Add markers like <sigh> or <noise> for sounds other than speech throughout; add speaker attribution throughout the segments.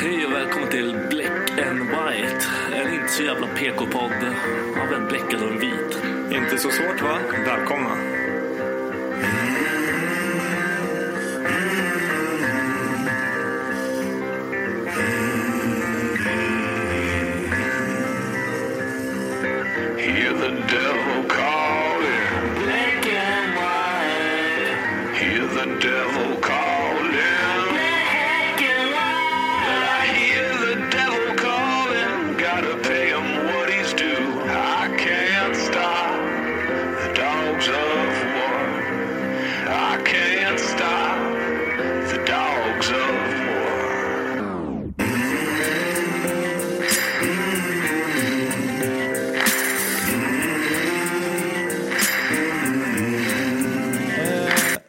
Speaker 1: Hej och välkommen till Black and White. En inte så jävla PK-podd av en bläckad och en vit.
Speaker 2: Inte så svårt va? Välkomna.
Speaker 3: Hear the devil calling. Black and white. Hear the devil calling. Black and white. I hear the devil calling. Gotta pay him what he's due. I can't stop the dogs of war. I can't stop the dogs of war.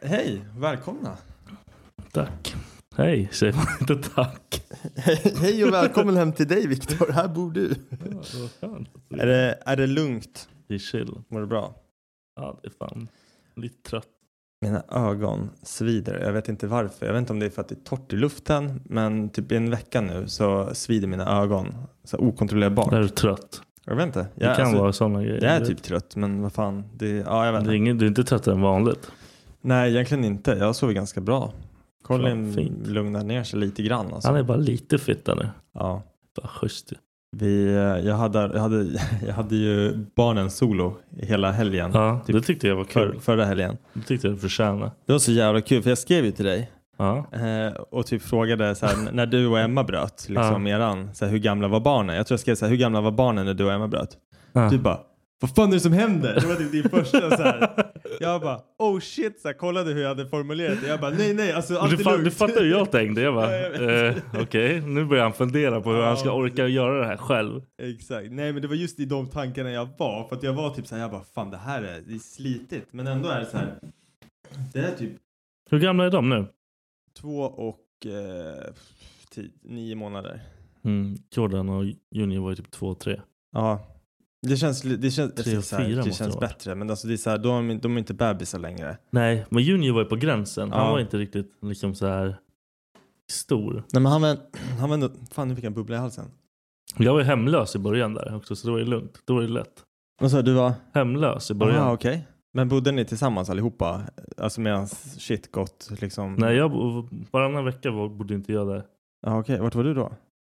Speaker 4: Hej, välkomna.
Speaker 1: Tack. Hej, säger man inte tack.
Speaker 4: Hej <laughs> och välkommen hem till dig Viktor, här bor du.
Speaker 1: Vad skönt.
Speaker 4: Är det, är det lugnt?
Speaker 1: Det är chill.
Speaker 4: Mår du bra?
Speaker 1: Ja, det är fan lite trött.
Speaker 4: Mina ögon svider, jag vet inte varför. Jag vet inte om det är för att det är torrt i luften, men typ i en vecka nu så svider mina ögon så okontrollerbart.
Speaker 1: Där är du trött.
Speaker 4: Jag vet inte. Jag,
Speaker 1: Det kan
Speaker 4: alltså,
Speaker 1: vara sådana grejer.
Speaker 4: jag är typ trött, men vad fan. Det, ja, jag vet
Speaker 1: det är
Speaker 4: inte.
Speaker 1: ingen, du är inte trött än vanligt.
Speaker 4: Nej, egentligen inte. Jag sover ganska bra. Colin
Speaker 1: Fan, fint.
Speaker 4: lugnar ner sig lite grann. Alltså.
Speaker 1: Han är bara lite fitta nu.
Speaker 4: ja.
Speaker 1: Bara schysst. ju.
Speaker 4: Vi, eh, jag, hade, jag, hade, <laughs> jag hade ju barnen solo hela helgen.
Speaker 1: Ja,
Speaker 4: Typ
Speaker 1: det tyckte jag var
Speaker 4: För,
Speaker 1: kul.
Speaker 4: förra helgen.
Speaker 1: Det tyckte jag du förtjänade.
Speaker 4: Det var så jävla kul för jag skrev ju till dig
Speaker 1: Ja.
Speaker 4: eh, och typ frågade så här, n- när du och Emma
Speaker 1: <laughs>
Speaker 4: bröt, liksom, eran, så här, hur gamla var barnen? Jag tror jag skrev så här, hur gamla var barnen när du och Emma bröt? Typ
Speaker 1: Ja.
Speaker 4: Du bara, vad fan är det som händer? Det var typ din första så här. Jag bara, oh shit, så här, kollade hur jag hade formulerat det. Jag bara, nej nej, alltså allt
Speaker 1: Du,
Speaker 4: är
Speaker 1: fa-
Speaker 4: lugnt.
Speaker 1: du fattar hur jag tänkte. Jag bara,
Speaker 4: Ja, jag vet.
Speaker 1: eh, okej, nu börjar han fundera på hur
Speaker 4: Ja,
Speaker 1: han ska orka göra det här själv.
Speaker 4: Exakt, nej men det var just i de tankarna jag var för att jag var typ så här, jag bara fan det här är, det är slitigt men ändå är det så här. Det är typ
Speaker 1: Hur gamla är de nu?
Speaker 4: två och eh, tio, nio månader.
Speaker 1: Mm, Jordan och Junior var ju typ två och tre.
Speaker 4: Ja, det känns, li- det känns,
Speaker 1: Tre och
Speaker 4: så här,
Speaker 1: fyra
Speaker 4: det
Speaker 1: måste
Speaker 4: känns
Speaker 1: det vara.
Speaker 4: bättre men alltså det är så här, de, är- de är inte bebisar längre.
Speaker 1: Nej, men Junior var ju på gränsen. Han
Speaker 4: Ja.
Speaker 1: var inte riktigt liksom så här stor.
Speaker 4: Nej men han var, han var ändå, fan nu fick jag en bubbla i halsen.
Speaker 1: Jag var ju hemlös i början där också, så det var ju lugnt. Då var det lätt.
Speaker 4: Vad sa du var?
Speaker 1: Hemlös i början.
Speaker 4: Ja okej. Men bodde ni tillsammans allihopa? Alltså medan shit gått liksom?
Speaker 1: Nej, jag, bo- varannan vecka var- bodde inte jag där.
Speaker 4: Ja, okej, vart var du då?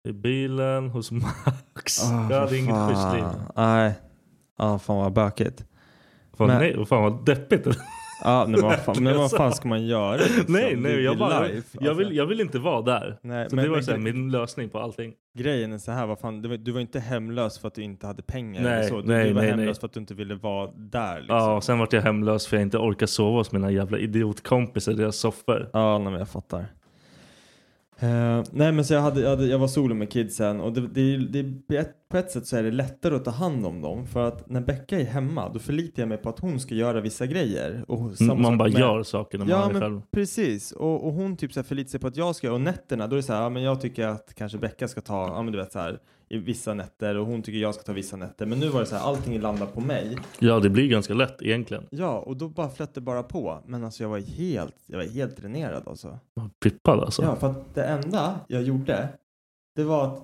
Speaker 1: I bilen, hos Max.
Speaker 4: Ah,
Speaker 1: jag hade inget
Speaker 4: fan.
Speaker 1: schysst liv.
Speaker 4: Nej. Ja, fan vad bökigt.
Speaker 1: Fan,
Speaker 4: Men-
Speaker 1: nej, vad fan vad deppigt.
Speaker 5: Ja, men vad fan, men
Speaker 1: <laughs>
Speaker 5: vad fan ska man göra? liksom?
Speaker 1: Nej,
Speaker 5: Det är
Speaker 1: nej, jag, bara,
Speaker 5: life,
Speaker 1: jag,
Speaker 5: alltså.
Speaker 1: vill, jag vill inte vara där.
Speaker 5: Nej,
Speaker 1: så
Speaker 5: men-
Speaker 1: det var
Speaker 5: men-
Speaker 1: så här, min lösning på allting.
Speaker 5: Grejen är så här, vad fan, du, var, du var inte hemlös för att du inte hade pengar.
Speaker 1: Nej,
Speaker 5: eller så. Du,
Speaker 1: nej,
Speaker 5: du var
Speaker 1: nej,
Speaker 5: hemlös
Speaker 1: nej.
Speaker 5: för att du inte ville vara där. Liksom.
Speaker 1: Ja, och sen vart jag hemlös för jag inte orkar sova hos mina jävla idiotkompisar i deras soffor.
Speaker 5: Ja, nej, men jag fattar. Eh, nej, men så jag, hade, jag, hade, jag var solo med kidsen och det, det, det, på ett- på ett sätt så är det lättare att ta hand om dem för att när Becka är hemma då förlitar jag mig på att hon ska göra vissa grejer. Och hon- samma
Speaker 1: man
Speaker 5: sak
Speaker 1: bara
Speaker 5: med-
Speaker 1: gör saker när man
Speaker 5: Ja,
Speaker 1: är
Speaker 5: men
Speaker 1: själv.
Speaker 5: precis. Och, och hon typ så här förlitar sig på att jag ska göra och nätterna då är det så här, ja, men jag tycker att kanske Becka ska ta, ja men du vet så här, i vissa nätter och hon tycker jag ska ta vissa nätter. Men nu var det så här, allting landar på mig.
Speaker 1: Ja, det blir ganska lätt egentligen.
Speaker 5: Ja, och då bara flöt det bara på. Men alltså jag var helt, jag var helt dränerad alltså.
Speaker 1: Man Pippad alltså.
Speaker 5: Ja, för att det enda jag gjorde, det var att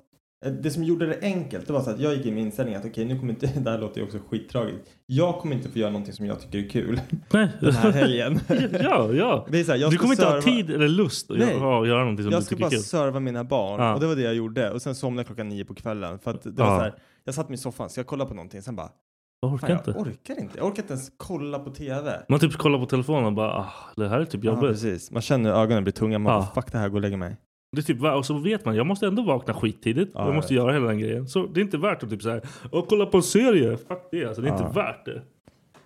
Speaker 5: eh, det som gjorde det enkelt, det var så att jag gick in med inställningen att okej, nu kommer inte, <laughs> det här låter ju också skittragiskt. Jag kommer inte få göra någonting som jag tycker är kul
Speaker 1: <laughs> Nej.
Speaker 5: den här helgen.
Speaker 1: <laughs> ja, ja.
Speaker 5: Det är så här, jag
Speaker 1: Du
Speaker 5: ska
Speaker 1: kommer inte ha
Speaker 5: serva-
Speaker 1: tid eller lust att
Speaker 5: Nej.
Speaker 1: göra, göra någonting som
Speaker 5: jag
Speaker 1: du
Speaker 5: ska
Speaker 1: tycker
Speaker 5: bara
Speaker 1: är kul.
Speaker 5: serva mina barn
Speaker 1: Ja.
Speaker 5: och det var det jag gjorde och sen somnade jag klockan nio på kvällen för att det
Speaker 1: Ja.
Speaker 5: var så här, jag satt mig i soffan så jag kollade på någonting sen bara,
Speaker 1: Jag
Speaker 5: fan,
Speaker 1: orkar
Speaker 5: jag
Speaker 1: inte.
Speaker 5: orkar inte, jag orkar inte ens kolla på tv.
Speaker 1: Man typ kollar på telefonen och bara ah, det här är typ
Speaker 5: Ja,
Speaker 1: jobbigt.
Speaker 5: precis. Man känner hur ögonen blir tunga, man
Speaker 1: Ja.
Speaker 5: bara, fuck det här, gå och lägga mig.
Speaker 1: det är typ, va- och så vet man jag måste ändå vakna skittidigt.
Speaker 5: Ja, jag
Speaker 1: jag måste
Speaker 5: vet.
Speaker 1: göra hela den grejen. Så det är inte värt att typ så här, och kolla på en serie. Fuck det alltså. Det är
Speaker 5: Ja.
Speaker 1: inte värt det.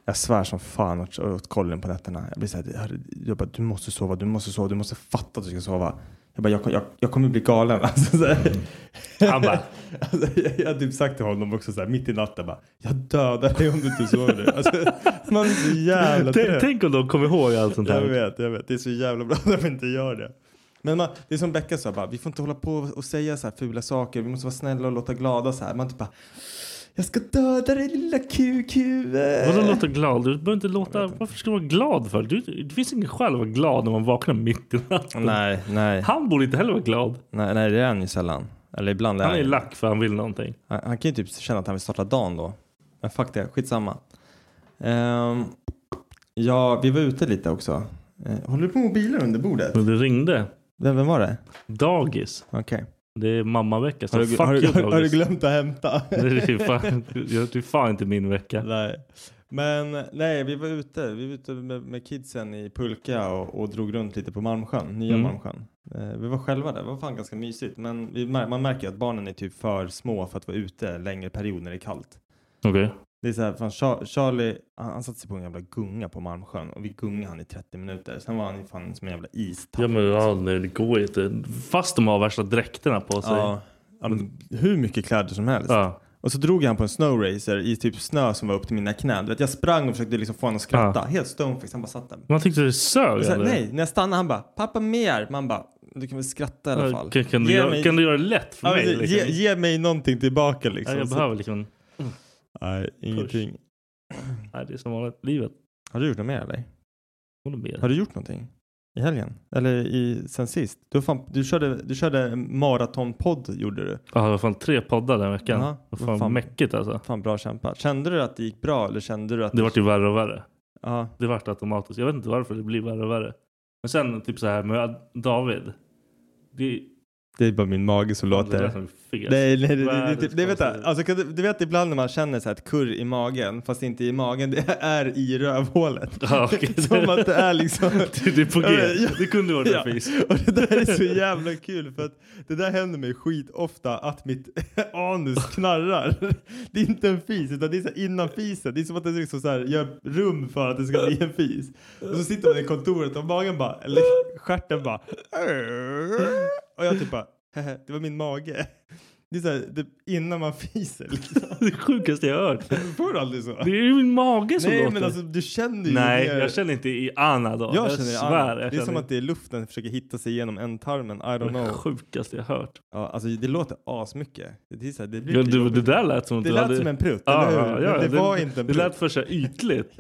Speaker 5: Jag svär som fan åt, åt Colin på nätterna. Jag blir så här, "Hörru, jag bara, du måste sova, du måste sova, du måste fatta att du ska sova. Jag bara, jag, jag, jag kommer bli galen. <laughs> Alltså, så här.
Speaker 1: Han bara-
Speaker 5: <laughs> alltså, jag, jag har typ sagt till honom också så här, mitt i natten bara, jag dödar dig om du inte sover nu. Alltså, man är så jävla
Speaker 1: Tänk-
Speaker 5: trött.
Speaker 1: Tänk om de kommer ihåg allt sånt
Speaker 5: Jag
Speaker 1: här.
Speaker 5: vet, jag vet. Det är så jävla bra när vi inte gör det. Men man, det är som Becka sa, bara, vi får inte hålla på och säga så här fula saker. Vi måste vara snälla och låta glada så här. Man typ bara, jag ska döda dig lilla QQ.
Speaker 1: Vadå låta glad? Du behöver inte låta... Varför ska du vara glad för? Du, det finns ingen skäl att vara glad när man vaknar mitt i natten.
Speaker 5: Nej, nej,
Speaker 1: Han borde inte heller vara glad.
Speaker 5: nej, nej, det är han ju sällan. Eller ibland
Speaker 1: Han är lack för han vill någonting.
Speaker 5: Han, han kan ju typ känna att han vill starta dagen då. Men fuck det, skitsamma. Ehm, ja, vi var ute lite också. Eh, håller du på mobilen under bordet?
Speaker 1: Men det ringde.
Speaker 5: Vem, vem var det?
Speaker 1: Dagis.
Speaker 5: Okej.
Speaker 1: Det är mammavecka. Så
Speaker 5: Har, du-
Speaker 1: fuck
Speaker 5: har,
Speaker 1: you
Speaker 5: du- har, har du
Speaker 1: dagis.
Speaker 5: glömt att hämta?
Speaker 1: det är typ- ju <laughs> fan, det är fan inte min vecka.
Speaker 5: Nej. Men nej, vi var ute. Vi var ute med, med kidsen i pulka och, och drog runt lite på Malmsjön, nya
Speaker 1: Mm.
Speaker 5: Malmsjön. Eh, vi var själva där, det var fan ganska mysigt. Men vi, mär- man märker ju att barnen är typ för små för att vara ute längre perioder när det är kallt.
Speaker 1: Okej.
Speaker 5: Det är så här, fan, Char- Charlie, han, han satte sig på en jävla gunga på Malmsjön och vi gungade han i 30 minuter. Sen var han ju fan som en jävla istapp.
Speaker 1: Ja men ja, nej, det går ju inte. Fast de har värsta dräkterna på sig.
Speaker 5: Ja, ja, men hur mycket kläder som helst.
Speaker 1: Ja.
Speaker 5: Och så drog jag han på en snowracer i typ snö som var upp till mina knän. Du vet, jag sprang och försökte liksom få honom att skratta. Helt stoneface, han bara satt där.
Speaker 1: Man tyckte det sög.
Speaker 5: Och så här,
Speaker 1: eller?
Speaker 5: nej, när jag stannade han bara “pappa mer”. Man bara “du kan väl skratta i alla fall”.
Speaker 1: Kan, kan, du
Speaker 5: Ge
Speaker 1: göra,
Speaker 5: mig-
Speaker 1: kan du göra det lätt för
Speaker 5: Ja,
Speaker 1: mig?
Speaker 5: precis.
Speaker 1: Liksom?
Speaker 5: ge, ge mig någonting tillbaka liksom.
Speaker 1: ja, jag
Speaker 5: Så-
Speaker 1: behöver liksom...
Speaker 5: Nej, ingenting.
Speaker 1: Nej, det är som vanligt. Livet.
Speaker 5: Har du gjort något mer eller?
Speaker 1: Håller med.
Speaker 5: Har du gjort någonting? I helgen? Eller i, sen sist? Du, har fan, du, körde, du körde maratonpodd gjorde du.
Speaker 1: Ja, det var fan tre poddar den veckan.
Speaker 5: Ja,
Speaker 1: Vad
Speaker 5: vad
Speaker 1: fan,
Speaker 5: fan.
Speaker 1: mäckigt alltså.
Speaker 5: Fan bra kämpat. Kände du att det gick bra eller kände du att...
Speaker 1: Det vart ju värre och värre.
Speaker 5: Ja,
Speaker 1: Det vart automatiskt. Jag vet inte varför det blir värre och värre. Men sen typ så här med David. Det,
Speaker 5: det är bara min mage som
Speaker 1: det
Speaker 5: låter.
Speaker 1: lät som fes.
Speaker 5: Nej, nej, det, det,
Speaker 1: Världens
Speaker 5: det, det, vet jag.
Speaker 1: konstigaste.
Speaker 5: Alltså, kan du, du vet ibland när man känner så här ett kurr i magen, fast inte i magen, det är i rövhålet.
Speaker 1: Ja, okej.
Speaker 5: <laughs> Som att det är liksom...
Speaker 1: <laughs> Det, det är på G.
Speaker 5: Ja,
Speaker 1: Det kunde varit
Speaker 5: Ja.
Speaker 1: en fis.
Speaker 5: <laughs> Och det där är så jävla kul för att det där händer mig skitofta att mitt <laughs> anus knarrar. <laughs> Det är inte en fis utan det är så här innan fisen. Det är som att det liksom så här gör rum för att det ska bli en fis. Och så sitter man i kontoret och magen bara, eller stjärten bara. Och jag typ bara, "Hehe, det var min mage. Det är så här, det, innan man fiser liksom.
Speaker 1: <laughs> Det sjukaste jag hört.
Speaker 5: <laughs> Får du aldrig så?
Speaker 1: Det är ju min mage som
Speaker 5: Nej
Speaker 1: låter.
Speaker 5: men alltså du känner ju
Speaker 1: Nej,
Speaker 5: mer-
Speaker 1: jag känner inte i Anna då.
Speaker 5: jag känner det.
Speaker 1: svär.
Speaker 5: Det är som att det är luften försöker hitta sig igenom ändtarmen. I don't
Speaker 1: det
Speaker 5: know.
Speaker 1: sjukaste jag hört.
Speaker 5: Ja, alltså det låter asmycket. Det, är så här, det, blir
Speaker 1: Ja,
Speaker 5: lite
Speaker 1: du, det
Speaker 5: jobbigt.
Speaker 1: där lät som att
Speaker 5: det
Speaker 1: du
Speaker 5: lät
Speaker 1: hade...
Speaker 5: som en prutt,
Speaker 1: Ja,
Speaker 5: eller hur?
Speaker 1: ja,
Speaker 5: Men det,
Speaker 1: ja,
Speaker 5: var inte en
Speaker 1: Det
Speaker 5: prutt.
Speaker 1: lät för så här
Speaker 5: <laughs>
Speaker 1: ytligt.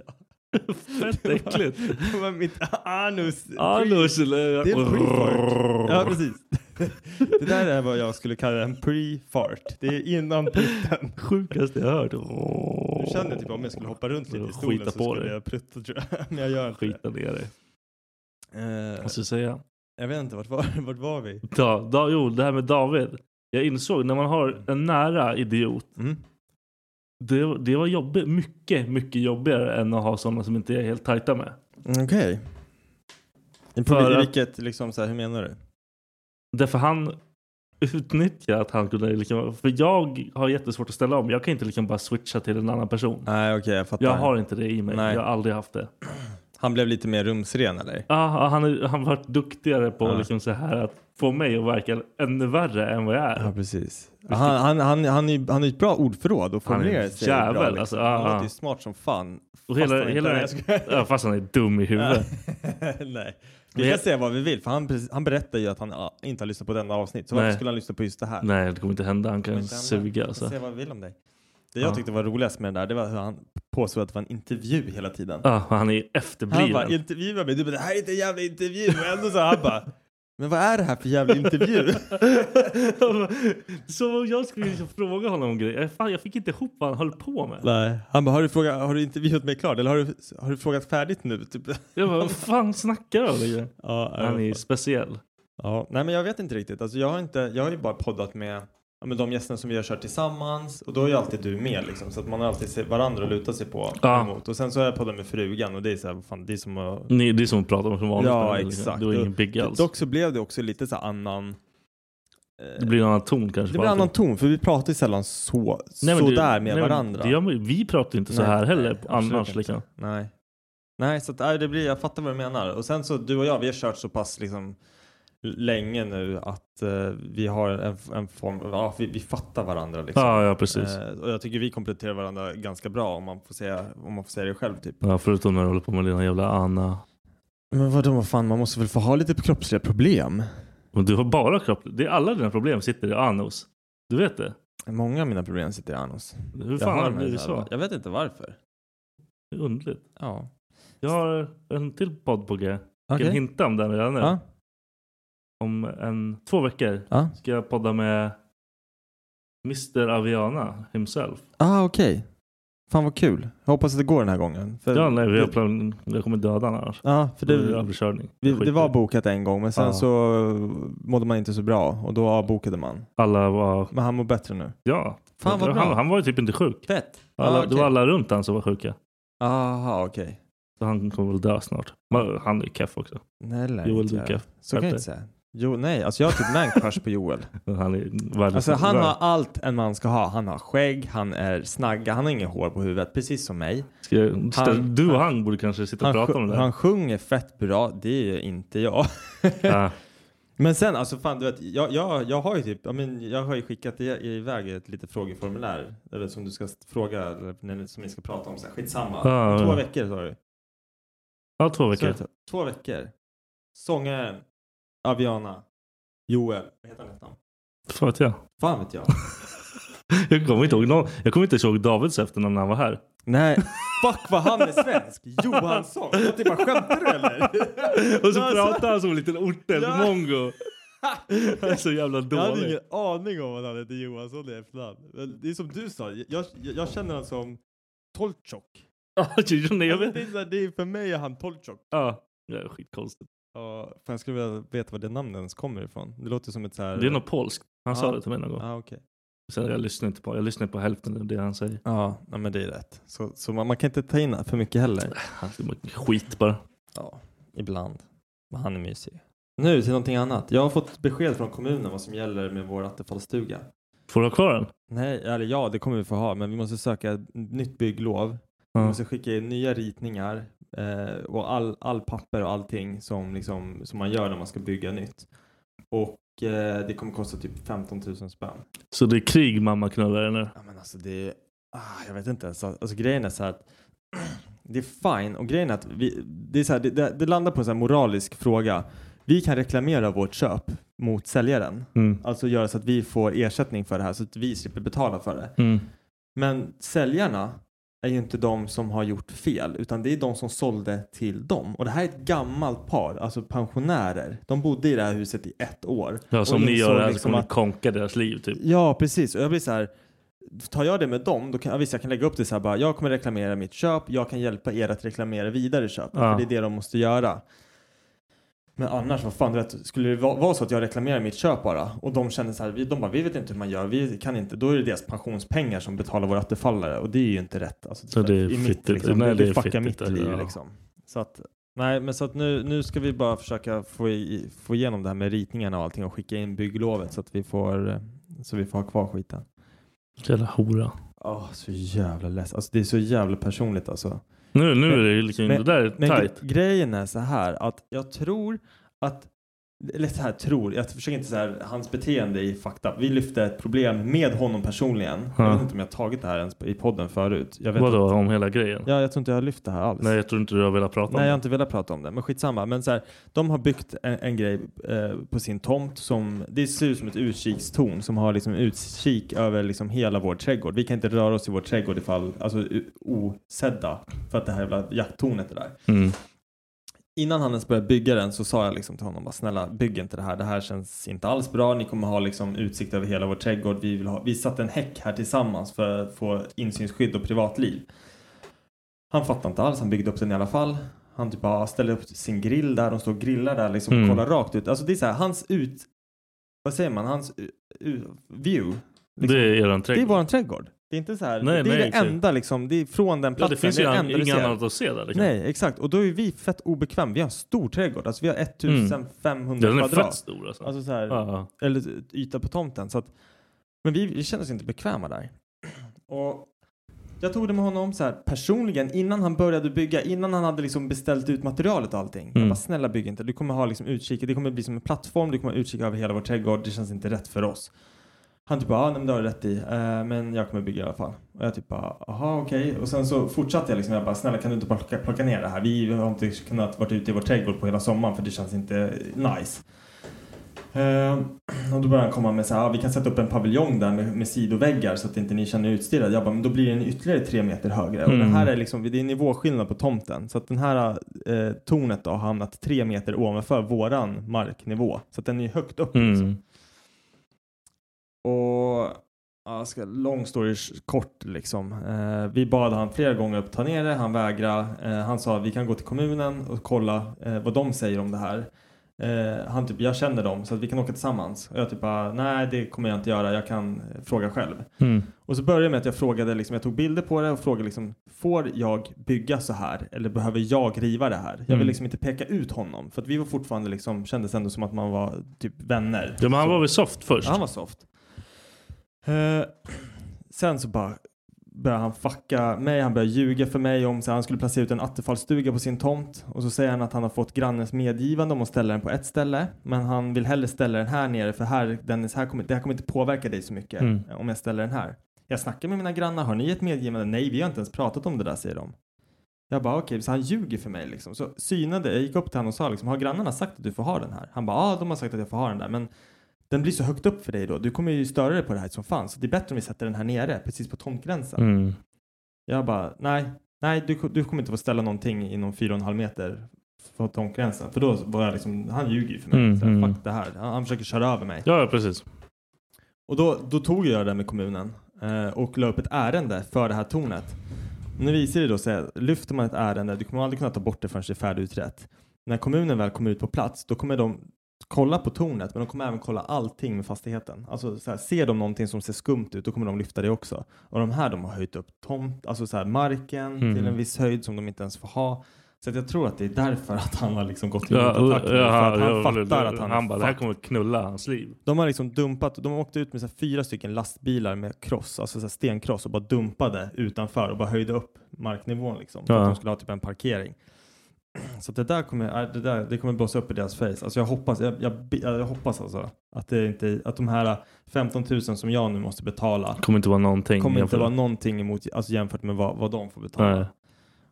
Speaker 1: Fett
Speaker 5: Det var-
Speaker 1: äckligt.
Speaker 5: Det var mitt anus.
Speaker 1: Annars... eller-
Speaker 5: Det är en pre-fart. Ja, precis. det där är vad jag skulle kalla en pre-fart. Det är innan prutten.
Speaker 1: Sjukaste jag hört.
Speaker 5: Nu känner jag typ om jag skulle hoppa runt lite i
Speaker 1: Skita
Speaker 5: stolen så
Speaker 1: på
Speaker 5: skulle
Speaker 1: dig.
Speaker 5: jag prutta tror jag. <laughs> Men jag gör inte
Speaker 1: Skita ner dig.
Speaker 5: det. Eh,
Speaker 1: Vad ska jag säga?
Speaker 5: jag vet inte, vart var, <laughs> vart var vi?
Speaker 1: Da, da, jo, det här med David. Jag insåg när man
Speaker 5: Mm.
Speaker 1: har en nära idiot. Det, det var jobbigt, mycket, mycket jobbigare än att ha sådana som inte är helt tajta med.
Speaker 5: Mm, Okej.
Speaker 1: För
Speaker 5: På
Speaker 1: att-
Speaker 5: vilket, liksom så här, hur menar du?
Speaker 1: Därför han utnyttjar att han kunde... Liksom, för jag har jättesvårt att ställa om. Jag kan inte liksom bara switcha till en annan person.
Speaker 5: Nej okej, jag fattar.
Speaker 1: Jag har inte det i mig.
Speaker 5: Nej.
Speaker 1: Jag har aldrig haft det.
Speaker 5: <clears throat> Han blev lite mer rumsren eller?
Speaker 1: Ja, han har han varit duktigare på
Speaker 5: Ja.
Speaker 1: liksom så här att få mig att verka ännu värre än vad jag är.
Speaker 5: Ja precis. Han, han, han, han, är, ju- han är ju ett bra ordförråd och
Speaker 1: Han är en
Speaker 5: formulerar sig
Speaker 1: jävel,
Speaker 5: bra. Liksom.
Speaker 1: alltså, ja,
Speaker 5: han
Speaker 1: ja.
Speaker 5: låter ju smart som fan.
Speaker 1: Och
Speaker 5: Fast han
Speaker 1: hela,
Speaker 5: inte
Speaker 1: hela,
Speaker 5: är det.
Speaker 1: den-
Speaker 5: Jag skojar.
Speaker 1: <laughs> ja, fast han är dum i huvudet.
Speaker 5: <laughs> Nej. Vi
Speaker 1: Men-
Speaker 5: kan säga vad vi vill för han, precis- han berättar ju att han ah, inte har lyssnat på denna avsnitt. Så varför
Speaker 1: Nej.
Speaker 5: skulle han lyssna på just det här?
Speaker 1: Nej, det kommer inte hända. Han kan
Speaker 5: Men den-
Speaker 1: suga.
Speaker 5: vi
Speaker 1: Alltså.
Speaker 5: kan Säga vad vi vill om dig. Det jag
Speaker 1: Ja.
Speaker 5: tyckte var roligast med det där det var hur han påstod att det var en intervju hela tiden.
Speaker 1: Ja, han är
Speaker 5: Han
Speaker 1: efterbliven.
Speaker 5: bara intervjua mig, du bara det här är inte en jävla intervju. Och ändå så här, han bara men vad är det här för jävla intervju?
Speaker 1: <laughs> Som om jag skulle liksom fråga honom om grejer. Fan, jag fick inte ihop vad han höll på med.
Speaker 5: Nej. Han bara har du, fråga, har du intervjuat mig klart eller har du, har du frågat färdigt nu? Typ.
Speaker 1: Jag bara, vad fan snackar du om? liksom?
Speaker 5: <laughs> Ja,
Speaker 1: Han är speciell.
Speaker 5: Ja, nej men jag vet inte riktigt. Alltså, jag, har inte, jag har ju bara poddat med, ja, med de gästerna som vi har kört tillsammans och då är ju alltid du med liksom. Så att man har alltid se- varandra att luta sig på.
Speaker 1: Ja.
Speaker 5: Emot. Och sen så har jag poddat med frugan och det är så här, vad fan, det är som att...
Speaker 1: Ni, det är som att prata om som vanligt.
Speaker 5: Ja,
Speaker 1: men liksom,
Speaker 5: exakt.
Speaker 1: Du är ingen
Speaker 5: Och
Speaker 1: big alls.
Speaker 5: Dock så blev det också lite så här annan... eh,
Speaker 1: Det blir en annan ton kanske.
Speaker 5: det
Speaker 1: på
Speaker 5: blir en annan
Speaker 1: allting.
Speaker 5: ton för vi pratar ju sällan så,
Speaker 1: Nej, men det-
Speaker 5: sådär med
Speaker 1: nej, men
Speaker 5: varandra.
Speaker 1: Det gör, man ju- vi pratar ju inte så
Speaker 5: Nej,
Speaker 1: här heller
Speaker 5: nej, absolut
Speaker 1: annars.
Speaker 5: inte.
Speaker 1: Liksom.
Speaker 5: Nej. Nej, så att, nej, det blir, jag fattar vad du menar. Och sen så du och jag, vi har kört så pass liksom länge nu att eh, vi har en, en form, ja, vi, vi fattar varandra liksom.
Speaker 1: Ja, ja, precis.
Speaker 5: Eh, och jag tycker vi kompletterar varandra ganska bra om man får säga, om man får säga det själv typ.
Speaker 1: Ja, förutom när du håller på med dina jävla Anna.
Speaker 5: Men vadå, vad fan, man måste väl få ha lite kroppsliga problem?
Speaker 1: Men du har bara kropp. Det är alla dina problem sitter i Anos. Du vet det?
Speaker 5: Många av mina problem sitter i anus.
Speaker 1: Hur
Speaker 5: Jag
Speaker 1: fan har
Speaker 5: har
Speaker 1: det
Speaker 5: de här
Speaker 1: blivit
Speaker 5: här-
Speaker 1: så?
Speaker 5: Jag vet inte varför.
Speaker 1: Det är underligt.
Speaker 5: Ja.
Speaker 1: Jag har en till podd på G. Jag
Speaker 5: Okej.
Speaker 1: kan hinta om den redan nu.
Speaker 5: Ja.
Speaker 1: Om en, två veckor
Speaker 5: Ja.
Speaker 1: ska jag podda med Mr Aviana himself.
Speaker 5: Ah, okej. Fan vad kul. Jag hoppas att det går den här gången. För-
Speaker 1: Ja, nej, vi har plan- jag kommer döda honom annars.
Speaker 5: Ja, för
Speaker 1: Det är
Speaker 5: det,
Speaker 1: överkörning.
Speaker 5: Vi,
Speaker 1: Skit i
Speaker 5: det var bokat en gång men sen
Speaker 1: Ja.
Speaker 5: så mådde man inte så bra och då avbokade man.
Speaker 1: Alla var...
Speaker 5: Men han mår bättre nu.
Speaker 1: Ja.
Speaker 5: Fan, vad bra.
Speaker 1: han, han var ju typ inte sjuk.
Speaker 5: Fett.
Speaker 1: Alla,
Speaker 5: Ah,
Speaker 1: Det
Speaker 5: okej.
Speaker 1: var alla runt han som var sjuka.
Speaker 5: Aha, okej.
Speaker 1: Så han kommer väl dö snart. Men Han är ju keff också.
Speaker 5: Nej, lär
Speaker 1: Joel
Speaker 5: inte
Speaker 1: du är
Speaker 5: jag.
Speaker 1: keff.
Speaker 5: Så kan jag inte säga. Jo, nej, alltså jag har typ man crush på Joel.
Speaker 1: Men <laughs> Han är världens
Speaker 5: Alltså han har allt en man ska ha. Han har skägg, han är snagga, han har inget hår på huvudet, precis som mig.
Speaker 1: Ska jag,
Speaker 5: han-
Speaker 1: du och han borde kanske sitta och
Speaker 5: Han,
Speaker 1: prata om det
Speaker 5: sj-
Speaker 1: där.
Speaker 5: han sjunger fett bra, det är ju inte jag.
Speaker 1: Ja.
Speaker 5: Men sen alltså fan du vet, jag, jag, jag har ju typ, jag, men, jag har ju skickat i- iväg ett litet frågeformulär. Eller som du ska s- fråga, eller när ni- som ni ska prata om sen. Skitsamma.
Speaker 1: Ja,
Speaker 5: Två
Speaker 1: ja.
Speaker 5: veckor sa du.
Speaker 1: ja, två
Speaker 5: Så
Speaker 1: veckor.
Speaker 5: jag tar- Två veckor. Sångaren, Aviana, Joel. Vad heter han i efternamn?
Speaker 1: Fan vet jag.
Speaker 5: Fan vet jag.
Speaker 1: <laughs> Jag kommer inte ihåg, någon, jag kommer inte ens ihåg Davids efternamn när han var här.
Speaker 3: <laughs>
Speaker 5: Nej. Fuck vad han är
Speaker 1: <laughs>
Speaker 5: svensk. Johansson. Jag typ bara skämtar du eller?
Speaker 1: Och så
Speaker 5: Alltså,
Speaker 1: pratar han som en liten ortel,
Speaker 5: Ja. <laughs>
Speaker 1: mongo. Han är så jävla
Speaker 5: Jag hade
Speaker 1: dålig.
Speaker 5: ingen aning om att han hette Johansson i efternamn. Men Det är som du sa, jag, jag, jag känner honom som Tolchok.
Speaker 1: Ja, <laughs> nej, jag
Speaker 5: Alltså,
Speaker 1: vet.
Speaker 5: det, är så här, det är för mig är han Tolchok.
Speaker 1: Ja, det är skitkonstigt.
Speaker 5: Ja, fan, jag skulle vilja veta var det namnet ens kommer ifrån. Det låter som ett så här...
Speaker 1: Det är något polskt. Han
Speaker 5: Ja.
Speaker 1: sa det till mig någon gång.
Speaker 5: Ja, okej.
Speaker 1: Sen jag lyssnar inte på, jag lyssnar på hälften av det han säger.
Speaker 5: Ja, nej, men det är rätt. Så, så man, man kan inte ta in för mycket heller.
Speaker 1: <laughs> Han är bara skit bara.
Speaker 5: Ja, ibland. Men han är mysig. Nu till någonting annat. Jag har fått besked från kommunen vad som gäller med vår Attefallsstuga.
Speaker 1: Får du ha kvar den?
Speaker 5: Nej, eller ja, det kommer vi få ha, men vi måste söka ett nytt bygglov. Vi
Speaker 1: Ja.
Speaker 5: måste skicka in nya ritningar eh, och all, all papper och allting som, liksom, som man gör när man ska bygga nytt. Och eh, det kommer kosta typ 15 000 spänn.
Speaker 1: Så det är krig mamma knullar nu.
Speaker 5: Ja, men alltså det är, ah, jag vet inte ens. Alltså grejen är så här att <clears throat> det är fine och grejen är att vi, det, är så här, det, det, det landar på en så här moralisk fråga. Vi kan reklamera vårt köp mot säljaren,
Speaker 1: Mm.
Speaker 5: alltså göra så att vi får ersättning för det här så att vi slipper betala för det.
Speaker 1: Mm.
Speaker 5: Men säljarna är ju inte de som har gjort fel utan det är de som sålde till dem. Och det här är ett gammalt par, alltså pensionärer. De bodde i det här huset i ett år.
Speaker 1: Ja, som
Speaker 5: Och
Speaker 1: ni
Speaker 5: insåg
Speaker 1: gör det här så
Speaker 5: liksom
Speaker 1: kommer ni
Speaker 5: att-
Speaker 1: konka deras liv typ.
Speaker 5: Ja, precis. Och jag blir så här. Tar jag det med dem, då kan, ja, visst jag kan lägga upp det så här bara, jag kommer reklamera mitt köp, jag kan hjälpa er att reklamera vidare köp.
Speaker 1: Ja.
Speaker 5: För det är det de måste göra. Men annars, vad fan, du vet, skulle det va- vara så att jag reklamerar mitt köp bara och de känner så här, vi, de bara, vi vet inte hur man gör, vi kan inte, då är det deras pensionspengar som betalar våra attefallare och det är ju inte rätt. Alltså,
Speaker 1: Så det är
Speaker 5: i mitt,
Speaker 1: fittigt.
Speaker 5: liksom,
Speaker 1: Nej,
Speaker 5: det,
Speaker 1: det
Speaker 5: det
Speaker 1: är
Speaker 5: fuckar
Speaker 1: fittigt,
Speaker 5: mitt liv
Speaker 1: ja.
Speaker 5: liksom. Så att,
Speaker 3: Nej, men så att nu, nu ska vi bara försöka få, i, få igenom det här med ritningarna och allting och skicka in bygglovet så att vi får, eh, så vi får ha kvar skiten.
Speaker 1: Jävla hora.
Speaker 3: Åh, så jävla less. Alltså det är så jävla personligt alltså.
Speaker 1: Nu, nu
Speaker 3: Men-
Speaker 1: är det ju liksom,
Speaker 3: men-
Speaker 1: det där är
Speaker 3: Men gre-
Speaker 1: tight.
Speaker 3: grejen är så här att jag tror att, eller så här tror, jag försöker inte så här, hans beteende i fakta. Vi lyfte ett problem med honom personligen. Jag
Speaker 1: Ja.
Speaker 3: vet inte om jag har tagit det här ens i podden förut. Jag vet
Speaker 1: Vadå
Speaker 3: Inte,
Speaker 1: om hela grejen?
Speaker 3: ja, jag tror inte jag har lyft det här alls.
Speaker 1: Nej, jag tror inte du har velat prata
Speaker 3: Nej, jag har
Speaker 1: om
Speaker 3: inte velat prata om det, men skitsamma. Men så här, de har byggt en, en grej eh, på sin tomt som det ser ut som ett utkikstorn som har liksom utkik över liksom hela vår trädgård. Vi kan inte röra oss i vår trädgård ifall, alltså u- osedda för att det här jävla jakttornet är där.
Speaker 1: det. Mm.
Speaker 3: Innan han ens började bygga den så sa jag liksom till honom bara snälla bygg inte det här. Det här känns inte alls bra. Ni kommer ha liksom utsikt över hela vår trädgård. Vi, vill ha, vi satte en häck här tillsammans för att få insynsskydd och privatliv. Han fattade inte alls. Han byggde upp den i alla fall. Han typ bara ställer upp sin grill där. De står och grillar där liksom
Speaker 1: Mm.
Speaker 3: och kollar rakt ut. Alltså det är så här hans ut... Vad säger man? Hans u- u- view. Liksom.
Speaker 1: Det är eran
Speaker 3: det är
Speaker 1: trädgård.
Speaker 3: våran trädgård. Det är inte så här.
Speaker 1: Nej,
Speaker 3: det är
Speaker 1: nej,
Speaker 3: det
Speaker 1: exakt.
Speaker 3: enda liksom. Det är från den
Speaker 1: ja,
Speaker 3: platsen.
Speaker 1: det finns ju
Speaker 3: är
Speaker 1: an-
Speaker 3: enda du
Speaker 1: inget
Speaker 3: ser.
Speaker 1: annat att se där. Liksom.
Speaker 3: Nej, exakt. Och då är vi fett obekväma. Vi har en stor trädgård. Alltså
Speaker 1: Mm.
Speaker 3: vi har 1500
Speaker 1: Den är
Speaker 3: kvadrat.
Speaker 1: fett stor alltså.
Speaker 3: Alltså så här,
Speaker 1: ja,
Speaker 3: eller yta på tomten. Så att, men vi, vi kände oss inte bekväma där. Och jag tog det med honom så här personligen innan han började bygga, innan han hade liksom beställt ut materialet och allting. Jag
Speaker 1: Mm.
Speaker 3: bara, snälla bygg inte. Du kommer ha liksom utkik, det kommer bli som en plattform, du kommer ha utkik över hela vår trädgård. Det känns inte rätt för oss. Han typ bara, ah, nej, men det har du rätt i, eh, men jag kommer bygga i alla fall. Och jag typ bara, aha okej. Och sen så fortsatte jag liksom, jag bara, snälla kan du inte bara plocka, plocka ner det här? Vi har inte kunnat vara ute i vår trädgård på hela sommaren för det känns inte nice. Eh, och då började han komma med så här, ah, vi kan sätta upp en paviljong där med, med sidoväggar så att inte ni känner er utstirrade. Jag bara, men då blir den ytterligare tre meter högre. Och
Speaker 1: Mm.
Speaker 3: den här är liksom, det är nivåskillnad på tomten. Så att den här eh, tornet då har hamnat tre meter ovanför våran marknivå. Så att den är högt upp.
Speaker 1: ja.
Speaker 3: Liksom.
Speaker 1: Mm.
Speaker 3: Och ja, jag ska, long story sh- kort liksom. Eh, vi bad han flera gånger att ta ner det. Han vägrade. Eh, han sa vi kan gå till kommunen och kolla eh, vad de säger om det här. Eh, han typ jag känner dem så att vi kan åka tillsammans. Och jag typ bara, nej det kommer jag inte göra. Jag kan eh, fråga själv.
Speaker 1: Mm.
Speaker 3: Och så började jag med att jag frågade, liksom, jag tog bilder på det och frågade liksom, får jag bygga så här eller behöver jag riva det här? Jag
Speaker 1: Mm.
Speaker 3: vill liksom inte peka ut honom för att vi var fortfarande liksom, kändes ändå som att man var typ vänner.
Speaker 1: Ja, men han
Speaker 3: Så-
Speaker 1: var väl soft först?
Speaker 3: Ja, han var soft. Eh, sen så bara började han fucka mig. Han började ljuga för mig om så här, han skulle placera ut en attefallsstuga på sin tomt. Och så säger han att han har fått grannens medgivande om att ställa den på ett ställe. Men han vill hellre ställa den här nere för här, Dennis, här kommer, det här kommer inte påverka dig så mycket
Speaker 1: Mm.
Speaker 3: eh, om jag ställer den här. Jag snackar med mina grannar. Har ni ett medgivande? Nej, vi har inte ens pratat om det där, säger de. Jag bara okej, så han ljuger för mig liksom. Så synade, jag gick upp till honom och sa liksom, har grannarna sagt att du får ha den här? Han bara, ja ah, de har sagt att jag får ha den där, men den blir så högt upp för dig då. Du kommer ju störa dig på det här som fan. Så det är bättre om vi sätter den här nere, precis på tomtgränsen.
Speaker 1: Mm.
Speaker 3: Jag bara, nej, nej, du, du kommer inte få ställa någonting inom fyra och en halv meter från tomtgränsen. För då var jag liksom, han ljuger ju för mig.
Speaker 1: Mm,
Speaker 3: så här,
Speaker 1: mm.
Speaker 3: Fuck det här. Han, han försöker köra över mig.
Speaker 1: Ja, ja, precis.
Speaker 3: Och då, då tog jag det med kommunen eh, och la upp ett ärende för det här tornet. Nu visar det då sig, lyfter man ett ärende, du kommer aldrig kunna ta bort det förrän det är färdigutrett. När kommunen väl kommer ut på plats, då kommer de kolla på tornet, men de kommer även kolla allting med fastigheten. Alltså så här, ser de någonting som ser skumt ut, då kommer de lyfta det också. Och de här, de har höjt upp tomt, alltså så här, marken
Speaker 1: Mm.
Speaker 3: till en viss höjd som de inte ens får ha. Så att jag tror att det är därför att han har liksom gått i
Speaker 1: Ja,
Speaker 3: kontakt med det, för att han
Speaker 1: ja,
Speaker 3: fattar att han, är
Speaker 1: bara, det här
Speaker 3: fucked."
Speaker 1: kommer knulla hans liv.
Speaker 3: De har liksom dumpat, de åkte ut med så här fyra stycken lastbilar med kross, alltså så här stenkross och bara dumpade utanför och bara höjde upp marknivån liksom. För
Speaker 1: Ja.
Speaker 3: att de skulle ha typ en parkering. <clears throat> Så att det där kommer, äh, det där, det kommer blåsa upp i deras face. Alltså jag hoppas, jag, jag, be- jag hoppas alltså att det inte, att de här 15 000 som jag nu måste betala
Speaker 1: Det kommer inte vara någonting.
Speaker 3: kommer inte
Speaker 1: jämfört-
Speaker 3: vara någonting emot, alltså jämfört med vad, vad de får betala.
Speaker 1: Nej.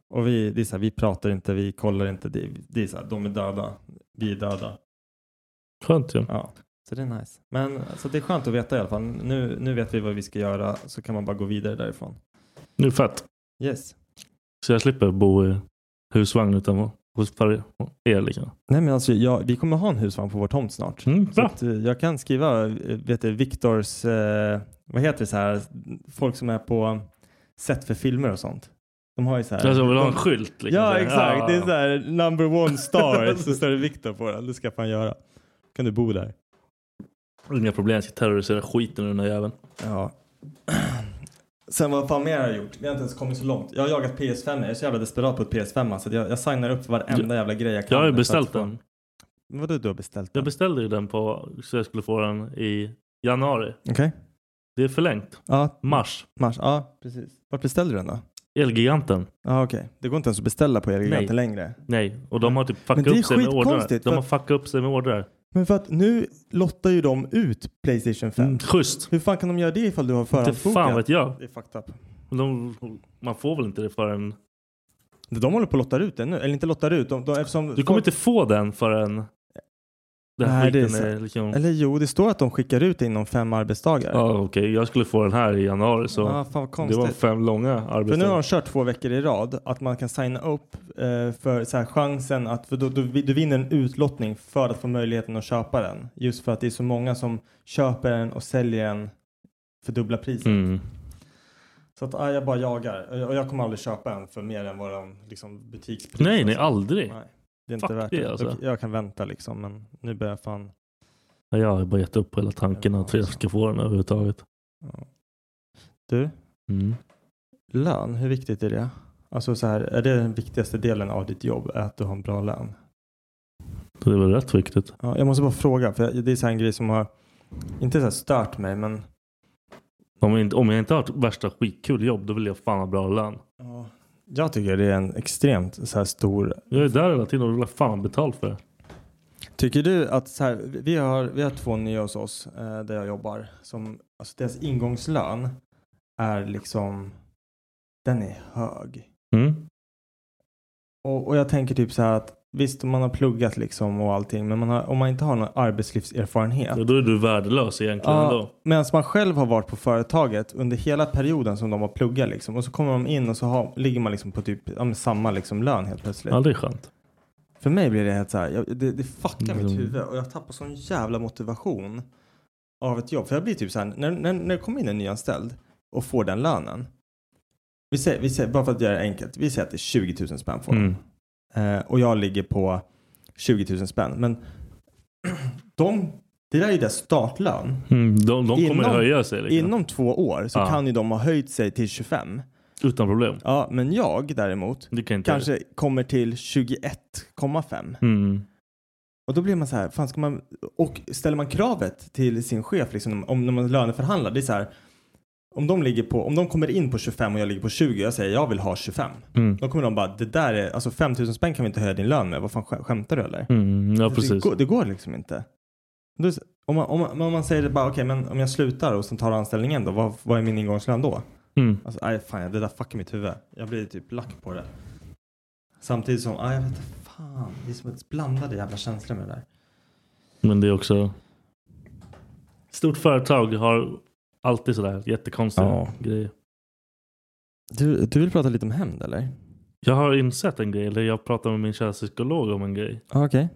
Speaker 3: Och vi, det är så här, vi pratar inte, vi kollar inte, det, det är så här, de är döda, vi är döda.
Speaker 1: Skönt ju.
Speaker 3: Ja, så det är nice. Men så det är skönt att veta i alla fall. Nu, nu vet vi vad vi ska göra så kan man bara gå vidare därifrån.
Speaker 1: Nu är det fett.
Speaker 3: Yes.
Speaker 1: Så jag slipper bo i husvagn utan hos far- er liksom.
Speaker 3: Nej men alltså jag, vi kommer ha en husvagn på vår tomt snart.
Speaker 1: Mm,
Speaker 3: Så
Speaker 1: bra.
Speaker 3: att, eh, jag kan skriva, eh, vet du, Viktors, eh, vad heter det så här, folk som är på set för filmer och sånt. De har ju så här.
Speaker 1: Alltså vill ha en
Speaker 3: de-
Speaker 1: skylt liksom.
Speaker 3: Ja
Speaker 1: Så här,
Speaker 3: exakt,
Speaker 1: ah.
Speaker 3: det är så här number one star så står det Viktor på den. Det ska fan göra. Kan du bo där?
Speaker 1: Inga problem, jag ska terrorisera skiten ur den där jäveln.
Speaker 3: Ja. Sen vad fan mer har jag gjort? Vi har inte ens kommit så långt. Jag har jagat PS5. Jag är så jävla desperat på ett PS5. Alltså. Jag, jag signar upp för varenda jävla grej jag kan.
Speaker 1: Jag har ju
Speaker 3: för att
Speaker 1: beställt
Speaker 3: få-
Speaker 1: den.
Speaker 3: Vadå du har beställt den?
Speaker 1: Jag beställde ju den på, så jag skulle få den i januari.
Speaker 3: Okej.
Speaker 1: Det är förlängt.
Speaker 3: Ja,
Speaker 1: Mars.
Speaker 3: mars. Ja, precis. Vart beställde du den då?
Speaker 1: Elgiganten.
Speaker 3: Ja, okej. Det går inte ens att beställa på Elgiganten
Speaker 1: Nej.
Speaker 3: längre.
Speaker 1: Nej, och de har typ
Speaker 3: Men
Speaker 1: fuckat
Speaker 3: det är
Speaker 1: upp sig med ordrar.
Speaker 3: skitkonstigt,
Speaker 1: De
Speaker 3: för
Speaker 1: har fuckat upp sig med ordrar.
Speaker 3: Men för att nu lottar ju de ut Playstation 5.
Speaker 1: Mm, schysst.
Speaker 3: Hur fan kan de göra det ifall du har
Speaker 1: Inte
Speaker 3: förhandsbokat?
Speaker 1: fan vet jag.
Speaker 3: Det är fucked up.
Speaker 1: De, man får väl inte det förrän...
Speaker 3: De håller på att lottar ut den nu. Eller inte lottar ut. De, de, eftersom
Speaker 1: Du kommer inte få den förrän... Den här
Speaker 3: Nej, det är
Speaker 1: skiten är,
Speaker 3: sant.
Speaker 1: liksom...
Speaker 3: Eller jo, det står att de skickar ut det inom fem arbetsdagar.
Speaker 1: Ja, okej. Jag skulle få den här i januari så...
Speaker 3: ah, fan vad
Speaker 1: det
Speaker 3: konstigt.
Speaker 1: var fem långa
Speaker 3: För nu har
Speaker 1: arbetsdagar.
Speaker 3: de kört två veckor i rad att man kan signa upp eh, för så här, chansen att för då, du, du vinner en utlottning för att få möjligheten att köpa den. Just för att det är så många som köper den och säljer den för dubbla priset.
Speaker 1: Mm.
Speaker 3: Så att ah, jag bara jagar och jag- och jag kommer aldrig köpa en för mer än vad de liksom butikspris.
Speaker 1: Nej, nej,
Speaker 3: alltså.
Speaker 1: aldrig.
Speaker 3: Nej, det är inte
Speaker 1: Fuck
Speaker 3: värt
Speaker 1: det,
Speaker 3: det.
Speaker 1: alltså.
Speaker 3: Jag, jag kan vänta liksom men nu börjar jag fan.
Speaker 1: Ja, Jag har bara gett upp på hela tanken att jag ska få den överhuvudtaget.
Speaker 3: Ja. Du,
Speaker 1: Mm.
Speaker 3: lön, hur viktigt är det? Alltså så här, är det den viktigaste delen av ditt jobb är att du har en bra lön?
Speaker 1: Så det var rätt viktigt.
Speaker 3: Ja, jag måste bara fråga, för jag- det är så här en grej som har, inte så här stört mig, men
Speaker 1: Om jag, inte, om jag inte har ett värsta skitkul jobb, då vill jag fan ha bra lön.
Speaker 3: ja, jag tycker det är en extremt så här stor.
Speaker 1: Jag är där hela tiden och vill ha fan betalt för det.
Speaker 3: Tycker du att så här, vi, har, vi har två nya hos oss eh, där jag jobbar, som, alltså deras ingångslön är liksom, den är hög.
Speaker 1: Mm.
Speaker 3: Och, och jag tänker typ så här att visst, man har pluggat liksom och allting, men man har, om man inte har någon arbetslivserfarenhet.
Speaker 1: Ja, Då är du värdelös egentligen
Speaker 3: Ja,
Speaker 1: ändå.
Speaker 3: Medan man själv har varit på företaget under hela perioden som de har pluggat liksom. Och så kommer de in och så har, ligger man liksom på typ ja, men samma liksom lön helt plötsligt.
Speaker 1: Ja, det är skönt.
Speaker 3: För mig blir det helt så här, jag, det, det fuckar
Speaker 1: Mm.
Speaker 3: mitt huvud och jag tappar sån jävla motivation av ett jobb. För jag blir typ så här, när, när, när det kommer in en nyanställd och får den lönen. Vi säger, vi säger, bara för att göra det enkelt, vi säger att det är 20 000 spänn får de.
Speaker 1: Mm.
Speaker 3: Eh, och jag ligger på 20 000 spänn. Men <clears throat> de, det där är ju deras startlön.
Speaker 1: Mm. De, de kommer
Speaker 3: Inom-
Speaker 1: höja sig liksom.
Speaker 3: Inom två år så
Speaker 1: Ja.
Speaker 3: kan ju de ha höjt sig till 25.
Speaker 1: Utan problem.
Speaker 3: Ja, men jag däremot
Speaker 1: Du kan inte...
Speaker 3: kanske kommer till 21,5.
Speaker 1: Mm.
Speaker 3: Och då blir man så här, fan ska man... Och ställer man kravet till sin chef liksom, om när man löneförhandlar, det är så här. Om de, ligger på, om de kommer in på 25 och jag ligger på 20 jag säger jag vill ha 25.
Speaker 1: Mm.
Speaker 3: Då kommer de bara, det där är, alltså 5 000 spänn kan vi inte höja din lön med. Vad fan skä- skämtar du eller?
Speaker 1: Mm. Ja,
Speaker 3: Det,
Speaker 1: precis.
Speaker 3: går, det går liksom inte. Då är det så- om, man, om, man, om man säger det bara, okej men om jag slutar och sen tar anställningen då, vad, vad är min ingångslön då?
Speaker 1: Mm.
Speaker 3: Alltså, nej, fan, det där fuckar mitt huvud. Jag blir typ lack på det. Samtidigt som, aj, jag vet inte, fan. Det är som ett blandade jävla känslor med det där.
Speaker 1: Men det är också... Stort företag har alltid sådär jättekonstiga
Speaker 3: Ja.
Speaker 1: grejer.
Speaker 3: Du, du vill prata lite om hämnd eller?
Speaker 1: Jag har insett en grej, eller jag pratade med min kära psykolog om en grej.
Speaker 3: Ja, Ah, okej.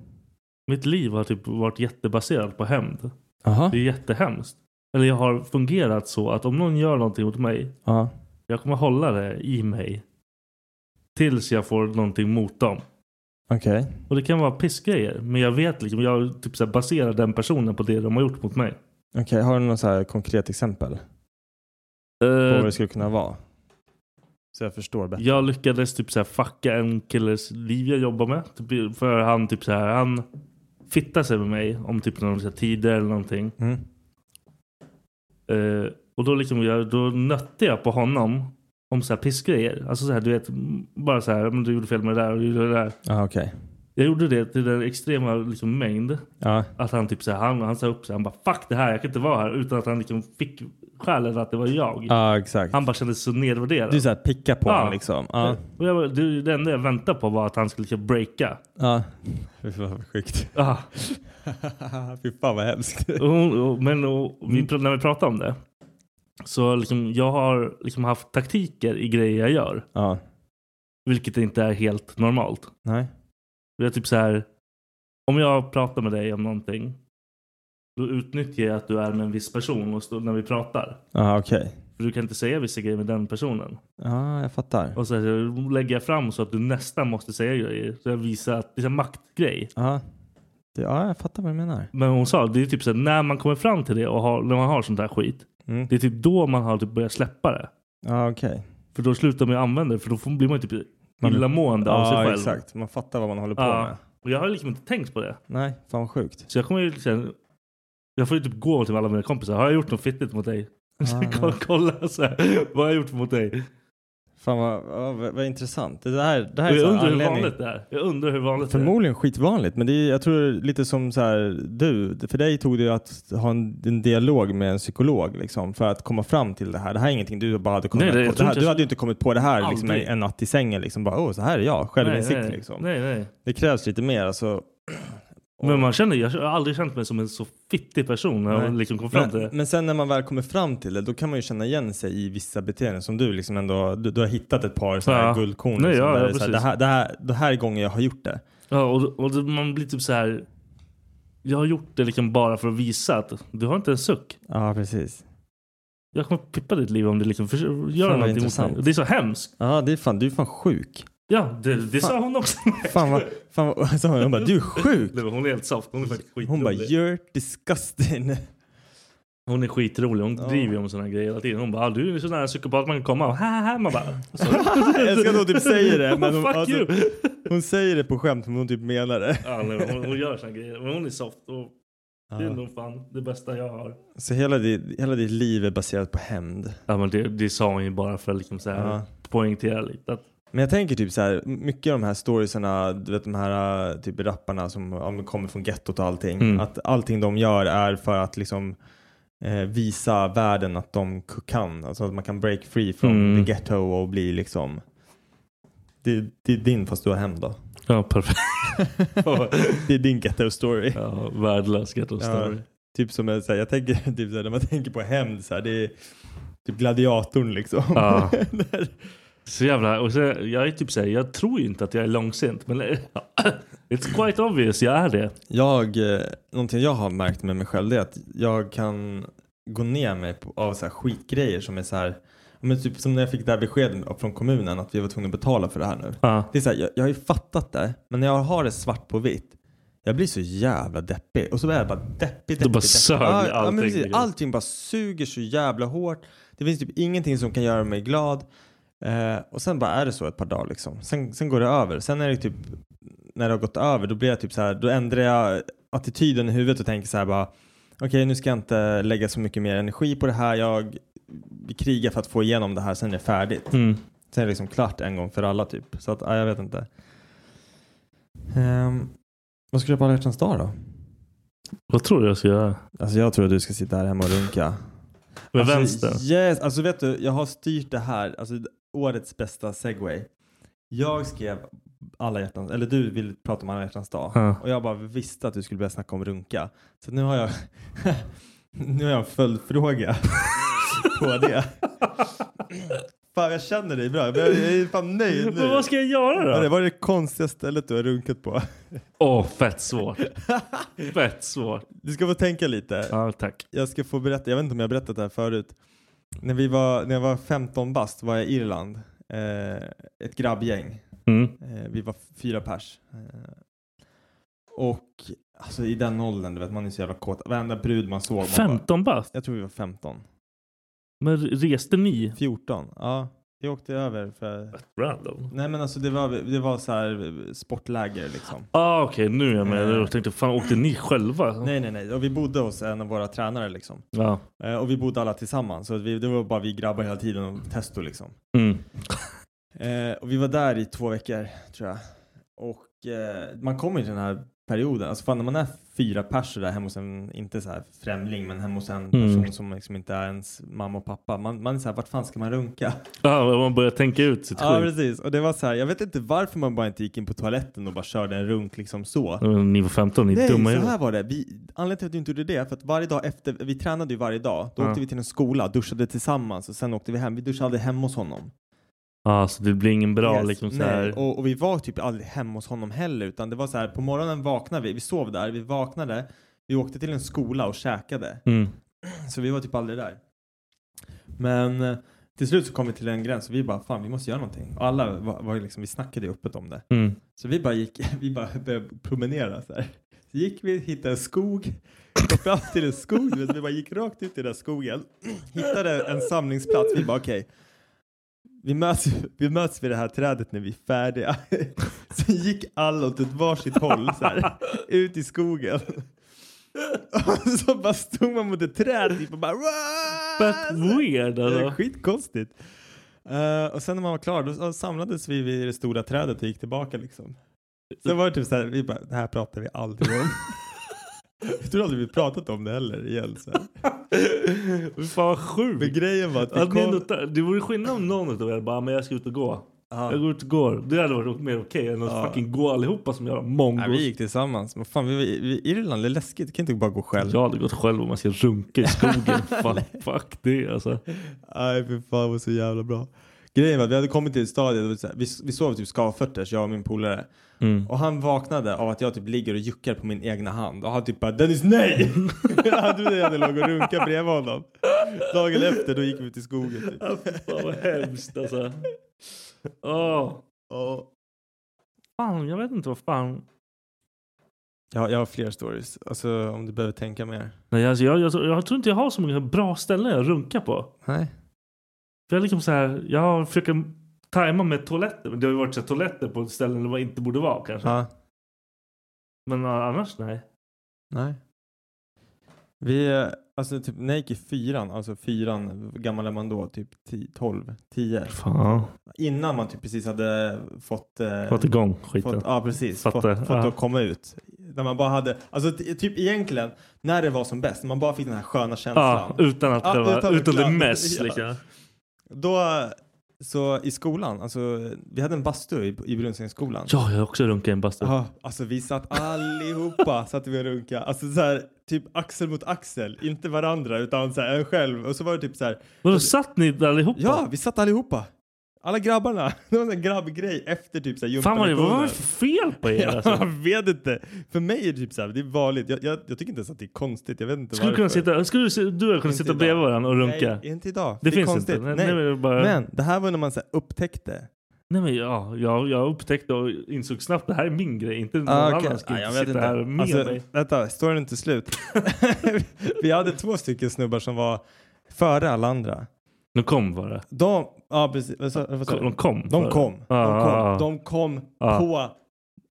Speaker 1: Mitt liv har typ varit jättebaserat på hämnd.
Speaker 3: Jaha.
Speaker 1: Det är jättehemskt. Eller jag har fungerat så att om någon gör någonting mot mig,
Speaker 3: Ja.
Speaker 1: jag kommer hålla det i mig. Tills jag får någonting mot dem.
Speaker 3: Okej.
Speaker 1: Och det kan vara pissgrejer. Men jag vet liksom, jag typ så här baserar den personen på det de har gjort mot mig.
Speaker 3: Okej, har du något så här konkret exempel på vad
Speaker 1: Eh,
Speaker 3: det skulle kunna vara? Så jag förstår bättre.
Speaker 1: jag lyckades typ så här fucka en killes liv jag jobbar med. Typ, för han typ så här, han fittade sig med mig om typ några så här tider eller någonting.
Speaker 3: Mm.
Speaker 1: Eh, och då, liksom jag, då nötte jag på honom om så här pissgrejer. Alltså så här, du vet, m- bara så här, men du gjorde fel med det där och du gjorde det där.
Speaker 3: Ja, okej.
Speaker 1: Jag gjorde det till den extrema liksom, mängd.
Speaker 3: Ja.
Speaker 1: Att han typ så här, han, han sa upp sig, han bara fuck det här, jag kan inte vara här. Utan att han liksom fick skälen att det var jag.
Speaker 3: Ja, exakt.
Speaker 1: Han bara kände sig så nedvärderad.
Speaker 3: Du är så här picka på
Speaker 1: Ja.
Speaker 3: honom liksom. Ja.
Speaker 1: Och jag, bara, det, det enda jag väntade på var att han skulle liksom breaka.
Speaker 3: Ja. Fy fan vad sjukt.
Speaker 1: Ah.
Speaker 3: <laughs> Fy fan vad hemskt. Mm.
Speaker 1: Och hon- och- men och, vi, pr- när vi pratade om det. Så liksom, jag har liksom haft taktiker i grejer jag gör.
Speaker 3: Ja.
Speaker 1: Vilket inte är helt normalt.
Speaker 3: Nej.
Speaker 1: Det är typ så här. Om jag pratar med dig om någonting. Då utnyttjar jag att du är med en viss person och står när vi pratar.
Speaker 3: Ja, okej.
Speaker 1: För du kan inte säga vissa grejer med den personen.
Speaker 3: Ja, jag fattar.
Speaker 1: Och så här, lägger jag fram så att du nästan måste säga grejer. Så jag visar att det är en maktgrej.
Speaker 3: Ja. Det, ja, jag fattar vad du menar.
Speaker 1: Men hon sa det är typ så här, när man kommer fram till det och har, när man har sånt här skit.
Speaker 3: Mm.
Speaker 1: Det är typ då man har typ börjat släppa det.
Speaker 3: Ja, okej.
Speaker 1: För då slutar man ju använda det, för då får- blir man ju typ
Speaker 3: Man-
Speaker 1: illamående av sig
Speaker 3: Ja,
Speaker 1: själv.
Speaker 3: exakt. Man fattar vad man håller på
Speaker 1: Ja.
Speaker 3: med.
Speaker 1: Och jag har liksom inte tänkt på det.
Speaker 3: Nej, fan vad sjukt.
Speaker 1: Så jag kommer ju liksom, jag får ju typ gå till alla mina kompisar. Har jag gjort något fittigt mot dig?
Speaker 3: Ah.
Speaker 1: <laughs> kolla, kolla så här, vad har jag gjort mot dig?
Speaker 3: Fan vad, ja, vad, vad intressant. Det här, det här
Speaker 1: Och
Speaker 3: är så
Speaker 1: jag undrar
Speaker 3: här
Speaker 1: hur
Speaker 3: anledning-
Speaker 1: vanligt det är. Jag undrar hur vanligt det är.
Speaker 3: Förmodligen skitvanligt, men det är, jag tror lite som så här, du, för dig tog det ju att ha en, en dialog med en psykolog liksom, för att komma fram till det här. Det här är ingenting du bara hade kommit
Speaker 1: Nej, det- jag
Speaker 3: på. Det
Speaker 1: tror
Speaker 3: här,
Speaker 1: inte
Speaker 3: du
Speaker 1: jag-
Speaker 3: hade ju inte kommit på det här liksom,
Speaker 1: Aldrig.
Speaker 3: en natt i sängen. Liksom, bara, oh, så här är jag, självinsikt.
Speaker 1: nej.
Speaker 3: Liksom.
Speaker 1: Nej, nej.
Speaker 3: Det krävs lite mer. Alltså,
Speaker 1: Men man känner, jag har aldrig känt mig som en så fittig person när jag
Speaker 3: Nej.
Speaker 1: liksom kom fram till
Speaker 3: men,
Speaker 1: det.
Speaker 3: men sen när man väl kommer fram till det, då kan man ju känna igen sig i vissa beteenden som du liksom ändå, du, du har hittat ett par så här
Speaker 1: Ja.
Speaker 3: guldkorn.
Speaker 1: Nej,
Speaker 3: liksom,
Speaker 1: ja,
Speaker 3: där
Speaker 1: ja,
Speaker 3: det, är så här, det,
Speaker 1: precis.
Speaker 3: här, det, här, det här är gången jag har gjort det.
Speaker 1: Ja, och, och det- man blir typ så här. Jag har gjort det liksom bara för att visa att du har inte en suck.
Speaker 3: Ja, precis.
Speaker 1: Jag kommer pippa ditt liv om du liksom försöker göra någonting
Speaker 3: vad
Speaker 1: mot mig.
Speaker 3: intressant.
Speaker 1: Och Det är så hemskt.
Speaker 3: Ja, det är fan, du är fan sjuk.
Speaker 1: Ja, det, det sa
Speaker 3: Fan.
Speaker 1: hon också.
Speaker 3: Fan vad, fan vad, <laughs> så hon bara
Speaker 1: <laughs>
Speaker 3: du är sjuk.
Speaker 1: Nej, men hon är helt soft. Hon är faktiskt skitrolig.
Speaker 3: Hon bara you're disgusting.
Speaker 1: Hon är skitrolig. Hon
Speaker 3: Ja.
Speaker 1: driver ju om sådana grejer hela tiden. Hon bara, "Ah, du är så nära psykopat man kan komma. Och, Haha, man bara,
Speaker 3: <laughs> Jag ska nog typ
Speaker 1: <laughs>
Speaker 3: säga det. Men hon,
Speaker 1: Oh, fuck
Speaker 3: alltså,
Speaker 1: you.
Speaker 3: hon säger det på skämt men hon typ menar det.
Speaker 1: Ja, nej, men hon, hon gör såna grejer. Men hon är soft. Och Det är
Speaker 3: Ja.
Speaker 1: nog fan det bästa jag har.
Speaker 3: Så hela ditt, hela ditt liv är baserat på hämnd.
Speaker 1: Ja, men det, det sa hon ju bara för att liksom så här,
Speaker 3: Ja.
Speaker 1: poängtera lite. Att,
Speaker 3: Men jag tänker typ så här, mycket av de här storiesarna, du vet de här äh, typ rapparna som ja, men kommer från gettot och allting.
Speaker 1: Mm.
Speaker 3: Att allting de gör är för att liksom eh, visa världen att de k- kan. Alltså att man kan break free från
Speaker 1: Mm.
Speaker 3: the ghetto och bli liksom. Det, det är din fast du har hämnd då.
Speaker 1: ja, perfekt.
Speaker 3: det är din ghetto story.
Speaker 1: Ja, värdelös ghetto
Speaker 3: <laughs>
Speaker 1: story.
Speaker 3: Typ som jag, så här, jag tänker, <laughs> typ så här, när man tänker på hämnd så här, det är typ gladiatorn liksom. <laughs>
Speaker 1: Ja.
Speaker 3: Där-
Speaker 1: Så jävla... Och så, jag är typ så här, jag tror ju inte att jag är långsint. Men <clears throat> ja, it's quite obvious, jag är det.
Speaker 3: Jag, eh, någonting jag har märkt med mig själv det är att jag kan gå ner mig på, av så här skitgrejer som är så här, men typ som när jag fick det här beskedet från kommunen att vi var tvungna att betala för det här nu.
Speaker 1: Ja.
Speaker 3: Det är så här, jag, jag har ju fattat det, men när jag har det svart på vitt, jag blir så jävla deppig. Och så är jag bara deppig, deppig,
Speaker 1: bara
Speaker 3: deppig.
Speaker 1: sög
Speaker 3: Ja, Ja,
Speaker 1: allting,
Speaker 3: men precis,
Speaker 1: liksom.
Speaker 3: allting bara suger så jävla hårt. Det finns typ ingenting som kan göra mig glad. Eh, och sen bara är det så ett par dagar liksom. Sen, sen går det över. Sen är det typ, när det har gått över, då blir jag typ så här, då ändrar jag attityden i huvudet och tänker så här bara, okej nu ska jag inte lägga så mycket mer energi på det här. Jag krigar för att få igenom det här, sen är det färdigt.
Speaker 1: Mm.
Speaker 3: Sen är det liksom klart en gång för alla typ. Så att, ja, jag vet inte. Ehm, vad ska du göra på alla hjärtans dag då?
Speaker 1: Vad tror du jag ska göra?
Speaker 3: Alltså jag tror att du ska sitta här hemma och runka.
Speaker 1: Med
Speaker 3: alltså,
Speaker 1: vänster?
Speaker 3: Yes, alltså vet du, jag har styrt det här, alltså årets bästa segway. Jag skrev alla hjärtans, eller du ville prata om alla hjärtans dag.
Speaker 1: Ja.
Speaker 3: Och jag bara visste att du skulle börja snacka om runka. Så nu har jag, <laughs> nu har jag en följdfråga på det. Fan jag känner dig bra, jag är fan nöjd nu.
Speaker 1: Men vad ska jag göra
Speaker 3: Vad
Speaker 1: då?
Speaker 3: var det konstigaste stället du har runkat på?
Speaker 1: Åh, fett <laughs> svårt. Fett svårt.
Speaker 3: Du ska få tänka lite.
Speaker 1: Ja, tack.
Speaker 3: Jag ska få berätta, jag vet inte om jag har berättat det här förut. När, vi var, när jag var 15 bast var jag i Irland. Eh, ett grabbgäng.
Speaker 1: Mm.
Speaker 3: Eh, vi var fyra pers. Eh, och alltså i den åldern, du vet man är så jävla kåt. Varenda brud man såg. man bara-
Speaker 1: 15 bast?
Speaker 3: Jag tror vi var 15.
Speaker 1: Men reste ni?
Speaker 3: 14, ja. Vi åkte över för...
Speaker 1: Random.
Speaker 3: Nej men alltså det var, det var så här eh, sportläger liksom.
Speaker 1: Ah, Okej, nu är jag med.
Speaker 3: Eh.
Speaker 1: Jag tänkte, fan åkte ni själva?
Speaker 3: Nej nej nej, och vi bodde hos en av våra tränare liksom.
Speaker 1: Ja.
Speaker 3: Eh, och vi bodde alla tillsammans. Så vi, det var bara vi grabbar hela tiden och testo liksom.
Speaker 1: Mm.
Speaker 3: Eh, och vi var där i två veckor tror jag. Och eh, man kommer ju till den här perioden, alltså fan när man är fyra pers där hemma hos en, inte så här främling, men hemma hos en person
Speaker 1: Mm.
Speaker 3: som liksom inte är ens mamma och pappa. Man, man är så här, vart fan ska man runka?
Speaker 1: <laughs> Ja, man börjar tänka ut sitt
Speaker 3: Ja
Speaker 1: skit.
Speaker 3: precis, och det var så här, jag vet inte varför man bara inte gick in på toaletten och bara körde en runk liksom så.
Speaker 1: Men Ni var 15, ni är
Speaker 3: Nej,
Speaker 1: dumma i
Speaker 3: så
Speaker 1: huvudet.
Speaker 3: här var det. Vi, anledningen till att vi inte gjorde det är för att varje dag efter, vi tränade ju varje dag. Då
Speaker 1: Ja.
Speaker 3: åkte vi till en skola, duschade tillsammans och sen åkte vi hem. Vi duschade aldrig hemma hos honom.
Speaker 1: Ja, så det blir ingen bra
Speaker 3: Yes,
Speaker 1: liksom så
Speaker 3: nej.
Speaker 1: här.
Speaker 3: Och, och vi var typ aldrig hemma hos honom heller utan det var så här på morgonen vaknade vi, vi sov där, vi vaknade, vi åkte till en skola och käkade.
Speaker 1: Mm.
Speaker 3: Så vi var typ aldrig där. Men eh, till slut så kom vi till en gräns och vi bara fan vi måste göra någonting. Och alla var, var ju liksom, vi snackade ju öppet om det.
Speaker 1: Mm.
Speaker 3: Så vi bara gick, <laughs> vi bara började promenera så här. Så gick vi, hittade en skog, kom fram till <clears throat> en skog, du vet, vi bara gick rakt ut i den där skogen, hittade en samlingsplats, vi bara okej, vi möts, vi möts vid det här trädet när vi är färdiga. <laughs> Sen gick alla åt ett varsitt håll så här, ut i skogen. <laughs> Och så bara stod man mot ett träd typ och bara... But
Speaker 1: weird alltså.
Speaker 3: Skitkonstigt. Eh, och sen när man var klar då så samlades vi vid det stora trädet och gick tillbaka liksom. Sen var det typ så här, vi bara, det här pratar vi aldrig om. <laughs> Jag tror aldrig vi pratat om det heller igen. Så här.
Speaker 1: Fan vad sjukt.
Speaker 3: Men grejen var att vi
Speaker 1: Att ni
Speaker 3: kom...
Speaker 1: ändå tar- det vore skillnad om någon utav er bara, "Ah, men jag ska ut och gå. Jag går ut och går. Det hade varit mer okej än att
Speaker 3: Ja.
Speaker 1: fucking gå allihopa som jävla mongos.
Speaker 6: Nej, vi gick tillsammans. Men fan, vi var i vi- Irland, det är läskigt. Du kan inte bara gå själv.
Speaker 1: Jag hade gått själv om man ska runka i skogen. fan, fuck det alltså.
Speaker 3: Nej för fan det var så jävla bra. Grejen var att vi hade kommit till ett stadie, där vi, så här- vi, vi sov typ skavfötters jag och min polare.
Speaker 1: Mm.
Speaker 3: Och han vaknade av att jag typ ligger och juckar på min egna hand. Och han typ bara Dennis nej! <laughs> han trodde jag hade låg och runkat bredvid honom. Dagen efter då gick vi ut i skogen. Typ.
Speaker 1: Ja, fy Ah, Fan vad hemskt alltså. Ah. Åh.
Speaker 3: Ja.
Speaker 1: Fan, jag vet inte vad fan.
Speaker 3: Jag, jag har fler stories, alltså om du behöver tänka mer.
Speaker 1: Nej, alltså, jag, jag, jag tror inte jag har så många bra ställen jag runkar på.
Speaker 3: Nej.
Speaker 1: För jag, är liksom så här, jag har försökt tajma med toaletter. Men det har ju varit så här, toaletter på ställen där man inte borde vara kanske.
Speaker 3: Ja,
Speaker 1: Men uh, annars nej.
Speaker 3: nej.
Speaker 6: Vi, eh, alltså typ, när jag gick i fyran, alltså fyran, hur gammal är man då? Typ 10, 12, 10?
Speaker 1: Fan.
Speaker 6: Innan man typ precis hade fått... eh,
Speaker 1: Fått igång skiten.
Speaker 6: Fått, ja precis, fått,
Speaker 1: Fattar.
Speaker 6: fått
Speaker 1: Ja.
Speaker 6: att komma ut. När man bara hade, alltså t- typ egentligen, när det var som bäst, när man bara fick den här sköna känslan.
Speaker 1: Ja, utan att
Speaker 6: Ja,
Speaker 1: själva,
Speaker 6: utan
Speaker 1: utan, det
Speaker 6: reklam.
Speaker 1: mess
Speaker 6: Ja.
Speaker 1: liksom.
Speaker 6: Då, så i skolan, alltså vi hade en bastu i, i Brunsängsskolan.
Speaker 1: Ja, jag har också runkat i en bastu.
Speaker 6: Ja,
Speaker 3: Alltså vi satt allihopa <laughs> satt vi och runka. Alltså så här, typ axel mot axel, inte varandra utan så här, en själv. Och så var det typ så här,
Speaker 1: Vadå, satt ni där allihopa?
Speaker 3: Ja, vi satt allihopa. Alla grabbarna. <laughs> Det var en sån här grabbgrej efter typ såhär
Speaker 1: Fan vad det var för fel på er
Speaker 3: Ja, jag
Speaker 1: alltså.
Speaker 3: vet inte. För mig är det typ såhär, det är vanligt. Jag, jag, jag tycker inte ens att det är konstigt. Jag vet inte
Speaker 1: Skulle du kunna
Speaker 3: varför.
Speaker 1: sitta, skulle du, se- du och jag kunna
Speaker 3: Inte
Speaker 1: sitta
Speaker 3: idag.
Speaker 1: bredvid varandra och runka?
Speaker 3: Nej, inte idag.
Speaker 1: det,
Speaker 3: är
Speaker 1: finns
Speaker 3: konstigt.
Speaker 1: inte. Nej,
Speaker 3: Nej.
Speaker 1: nej, men bara,
Speaker 3: Men det här var när man så här upptäckte.
Speaker 1: nej men ja, jag, jag upptäckte och insåg snabbt det här är min grej. Inte någon
Speaker 6: Ah, okej.
Speaker 1: annan ska
Speaker 6: Nej,
Speaker 1: inte
Speaker 6: jag
Speaker 1: sitta
Speaker 6: vet inte.
Speaker 1: här med
Speaker 6: Alltså,
Speaker 1: mig.
Speaker 3: Vänta, storyn är inte slut. <laughs> vi hade två stycken snubbar som var före alla andra.
Speaker 1: De kom bara.
Speaker 3: De, ja precis. Vad sa- vad sa du?
Speaker 1: De kom.
Speaker 3: De
Speaker 1: bara.
Speaker 3: kom. De
Speaker 1: Ah, ah,
Speaker 3: kom,
Speaker 1: ah.
Speaker 3: de kom
Speaker 1: Ah.
Speaker 3: på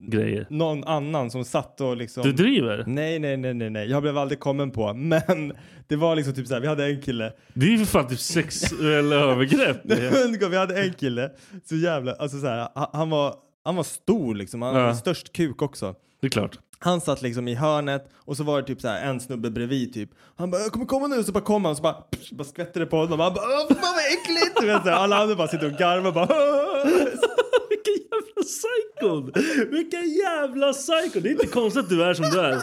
Speaker 1: Grejer.
Speaker 3: någon annan som satt och liksom...
Speaker 1: Du driver?
Speaker 3: Nej, nej, nej, nej, nej. Jag blev aldrig kommen på. Men det var liksom typ så här. Vi hade en kille.
Speaker 1: Det är ju för fan typ sexuella <laughs> övergrepp.
Speaker 3: Nej, <laughs> men vi hade en kille. Så jävla, alltså så här. han- Han var, han var stor liksom. Han
Speaker 1: Ja.
Speaker 3: hade störst kuk också.
Speaker 1: Det är klart.
Speaker 3: Han satt liksom i hörnet och så var det typ så här en snubbe bredvid typ. Han bara, jag kommer komma nu. Så bara kom han och så bara, psh, bara skvätte det på honom. Han bara, åh fan vad äckligt. Du vet, så här, alla andra bara sitter och garvar bara. <laughs> "Åh."
Speaker 1: Vilken jävla psycho! Vilken jävla psycho! Det är inte konstigt att du är som du är.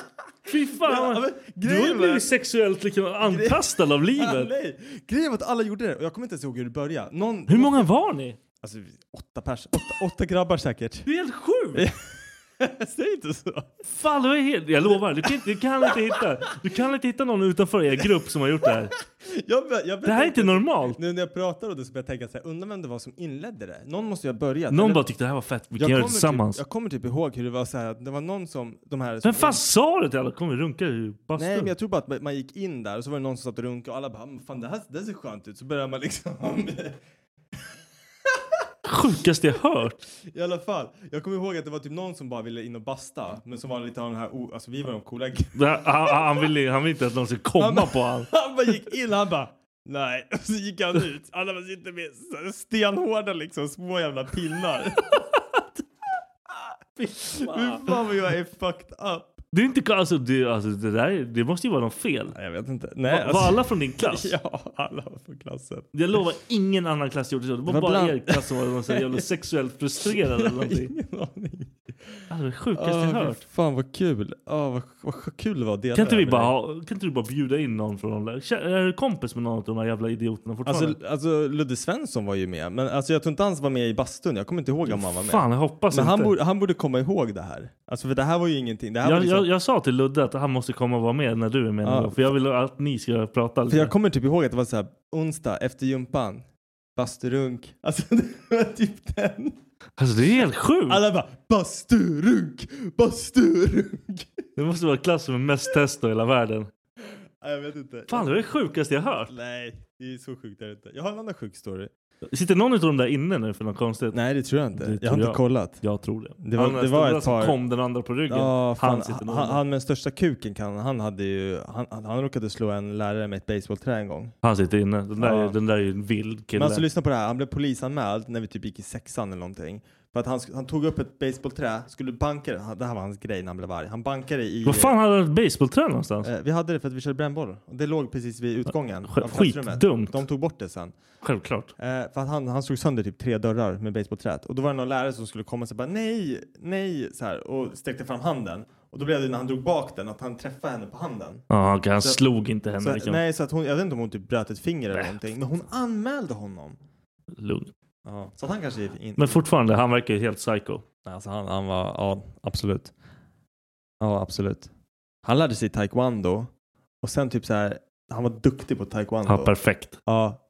Speaker 1: Fy fan.
Speaker 3: Ja, men
Speaker 1: du har ju
Speaker 3: grejen var-
Speaker 1: blivit sexuellt liksom antastad av
Speaker 3: Ah,
Speaker 1: livet.
Speaker 3: nej. Grejen var att alla gjorde det och jag kommer inte ens ihåg hur det började. Någon,
Speaker 1: Hur många var ni?
Speaker 3: Alltså åtta pers, åtta, åtta grabbar säkert. <laughs>
Speaker 1: Det är helt sjukt!
Speaker 3: Säg inte så.
Speaker 1: Fan, du är helt... Jag lovar, du kan, inte, du kan inte hitta Du kan inte hitta någon utanför er grupp som har gjort det här.
Speaker 3: Jag, bör- jag bör-
Speaker 1: Det här är inte normalt.
Speaker 3: Nu när jag pratar och då så börjar jag tänka så här, undrar vem det var som inledde det? Någon måste ju ha börjat.
Speaker 1: Någon
Speaker 3: Eller-
Speaker 1: bara tyckte det här var fett, vi
Speaker 3: jag
Speaker 1: kan göra det
Speaker 3: kommer
Speaker 1: tillsammans.
Speaker 3: Typ, jag kommer typ ihåg hur det var så här, att det var någon som, de här... som-
Speaker 1: Vem fan sa det till alla? Kom vi runka i bastun?
Speaker 3: Nej men jag tror bara att man gick in där och så var det någon som satt och runkade och alla bara, "Ah, "Men fan det här det ser skönt ut. Så börjar man liksom... <laughs>
Speaker 1: Sjukaste jag hört.
Speaker 3: I alla fall, jag kommer ihåg att det var typ någon som bara ville in och basta. Men som var lite av den här, o- alltså vi var de coola
Speaker 1: Det här, han, han, vill, han vill inte att någon ska komma på honom.
Speaker 3: Han bara gick in han bara nej. <laughs> Och så gick han ut. Alla bara sitter med så här stenhårda liksom små jävla pinnar.
Speaker 1: <laughs>
Speaker 3: Fy fan vad jag är fucked up.
Speaker 1: Det är inte alltså det, alltså det där är- det måste ju vara något fel.
Speaker 3: Nej, jag vet inte. Nej, alltså-
Speaker 1: Var, var alla från din klass?
Speaker 3: <laughs> Ja, alla var från klassen.
Speaker 1: Jag lovar ingen annan klass gjorde så. Det var,
Speaker 3: var
Speaker 1: bara
Speaker 3: bland-
Speaker 1: er klass som var någon så här jävla sexuellt frustrerad eller
Speaker 3: <laughs>
Speaker 1: någonting.
Speaker 3: Ingen aning.
Speaker 1: Alltså det sjukaste
Speaker 3: Åh,
Speaker 1: jag
Speaker 3: fy
Speaker 1: hört.
Speaker 3: fan vad kul. Oh, vad, vad kul det var att dela
Speaker 1: Kan inte,
Speaker 3: det
Speaker 1: vi
Speaker 3: här med
Speaker 1: bara,
Speaker 3: dig.
Speaker 1: ha- kan inte du bara bjuda in någon från någon lä- Kä- Är du kompis med någon av de här jävla idioterna fortfarande?
Speaker 3: Alltså, alltså Ludde Svensson var ju med. Men alltså, jag tror inte han var med i bastun. Jag kommer inte ihåg om han var med.
Speaker 1: Fan jag hoppas
Speaker 3: Men han
Speaker 1: inte.
Speaker 3: borde, han borde komma ihåg det här. Alltså för det här var ju ingenting. Det här var
Speaker 1: jag,
Speaker 3: liksom...
Speaker 1: jag, jag sa till Ludde att han måste komma och vara med när du är med någon
Speaker 3: Ja.
Speaker 1: gång, För jag vill att ni ska prata lite.
Speaker 3: För jag kommer typ ihåg att det var så här onsdag efter gympan, basturunk. Alltså <laughs> det var typ den.
Speaker 1: Alltså det är helt sjukt.
Speaker 3: Alla bara basturunk, basturunk. <laughs>
Speaker 1: Det måste vara klassen med mest testo i hela världen.
Speaker 3: Nej, jag vet inte.
Speaker 1: Fan det är det sjukaste jag hört.
Speaker 3: Nej, det är så sjukt är det inte. Jag har en annan sjuk story.
Speaker 1: Sitter någon utav dem där inne nu för något konstigt?
Speaker 3: Nej det tror jag inte.
Speaker 1: Det
Speaker 3: jag har
Speaker 1: tror
Speaker 3: inte
Speaker 1: jag.
Speaker 3: kollat.
Speaker 1: Jag tror det.
Speaker 3: Det var,
Speaker 1: Han den
Speaker 3: det var
Speaker 1: stora
Speaker 3: ett
Speaker 1: som
Speaker 3: par...
Speaker 1: kom, den andra på ryggen.
Speaker 3: Ja,
Speaker 1: Han
Speaker 3: fan,
Speaker 1: sitter
Speaker 3: han,
Speaker 1: nog
Speaker 3: han,
Speaker 1: där.
Speaker 3: med den största kuken kan han. hade ju, han, han han råkade slå en lärare med ett basebollträ en gång.
Speaker 1: Han sitter inne. Den där,
Speaker 3: Ja.
Speaker 1: är- den där är ju en vild
Speaker 3: Men
Speaker 1: kille.
Speaker 3: alltså lyssna på det här. Han blev polisanmäld när vi typ gick i sexan eller någonting. För att han, sk- han tog upp ett basebollträ, skulle banka det. Han- Det här var hans grej när han blev arg. Han bankade i...
Speaker 1: Vad fan hade han ett basebollträ någonstans?
Speaker 3: Eh, Vi hade det för att vi körde brännboll. Och Det låg precis vid utgången.
Speaker 1: Sk-
Speaker 3: av klassrummet.
Speaker 1: skitdumt.
Speaker 3: De tog bort det sen.
Speaker 1: Självklart.
Speaker 3: Eh, för att han, han slog sönder typ tre dörrar med basebollträet. Och då var det någon lärare som skulle komma och säga bara nej, nej, så här, och sträckte fram handen. Och då blev det när han drog bak den att han träffade henne på handen.
Speaker 1: Ja, okej, han
Speaker 3: Så-
Speaker 1: slog inte henne.
Speaker 3: Så,
Speaker 1: liksom.
Speaker 3: nej, så att hon, jag vet inte om hon typ bröt ett finger eller
Speaker 1: Nej.
Speaker 3: någonting. Men hon anmälde honom.
Speaker 1: Lugn.
Speaker 3: Ja, så att han kanske gick in.
Speaker 1: Men fortfarande, han verkar ju helt psycho.
Speaker 3: Nej, Alltså han, han var, ja absolut. Ja absolut. Han lärde sig taekwondo. Och sen typ så här, han var duktig på taekwondo.
Speaker 1: Han perfekt.
Speaker 3: Ja.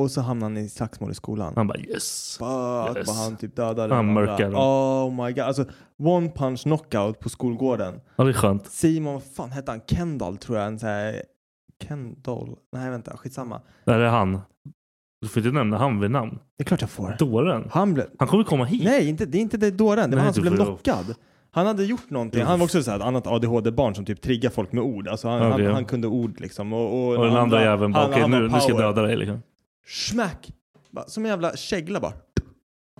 Speaker 3: Och så hamnade han i slagsmål i skolan.
Speaker 1: Han bara yes.
Speaker 3: Fuck
Speaker 1: Yes.
Speaker 3: vad han typ dödade
Speaker 1: Han
Speaker 3: den andra.
Speaker 1: mörkar dem.
Speaker 3: Oh my god. Alltså one punch knockout på skolgården.
Speaker 1: Ja, det är skönt.
Speaker 3: Simon, vad fan hette han? Kendall tror jag. En så här... Kendall? Nej vänta, skitsamma.
Speaker 1: Där är han. Du får inte nämna han vid namn.
Speaker 3: Det är klart jag får.
Speaker 1: Dåren.
Speaker 3: Han blev...
Speaker 1: Han kommer komma hit.
Speaker 3: Nej, inte, det är inte det dåren. Det var
Speaker 1: Nej,
Speaker 3: han som
Speaker 1: du
Speaker 3: blev
Speaker 1: får-
Speaker 3: knockad. Han hade gjort någonting. Han var också så här ett annat ADHD-barn som typ triggar folk med ord. Alltså han,
Speaker 1: Okej.
Speaker 3: han, han kunde ord liksom. Och, och,
Speaker 1: Och den andra jäveln bara,
Speaker 3: han-
Speaker 1: okej
Speaker 3: han
Speaker 1: nu,
Speaker 3: var
Speaker 1: nu ska jag
Speaker 3: power.
Speaker 1: döda dig liksom.
Speaker 3: Smack! Bara, Som en jävla kägla bara.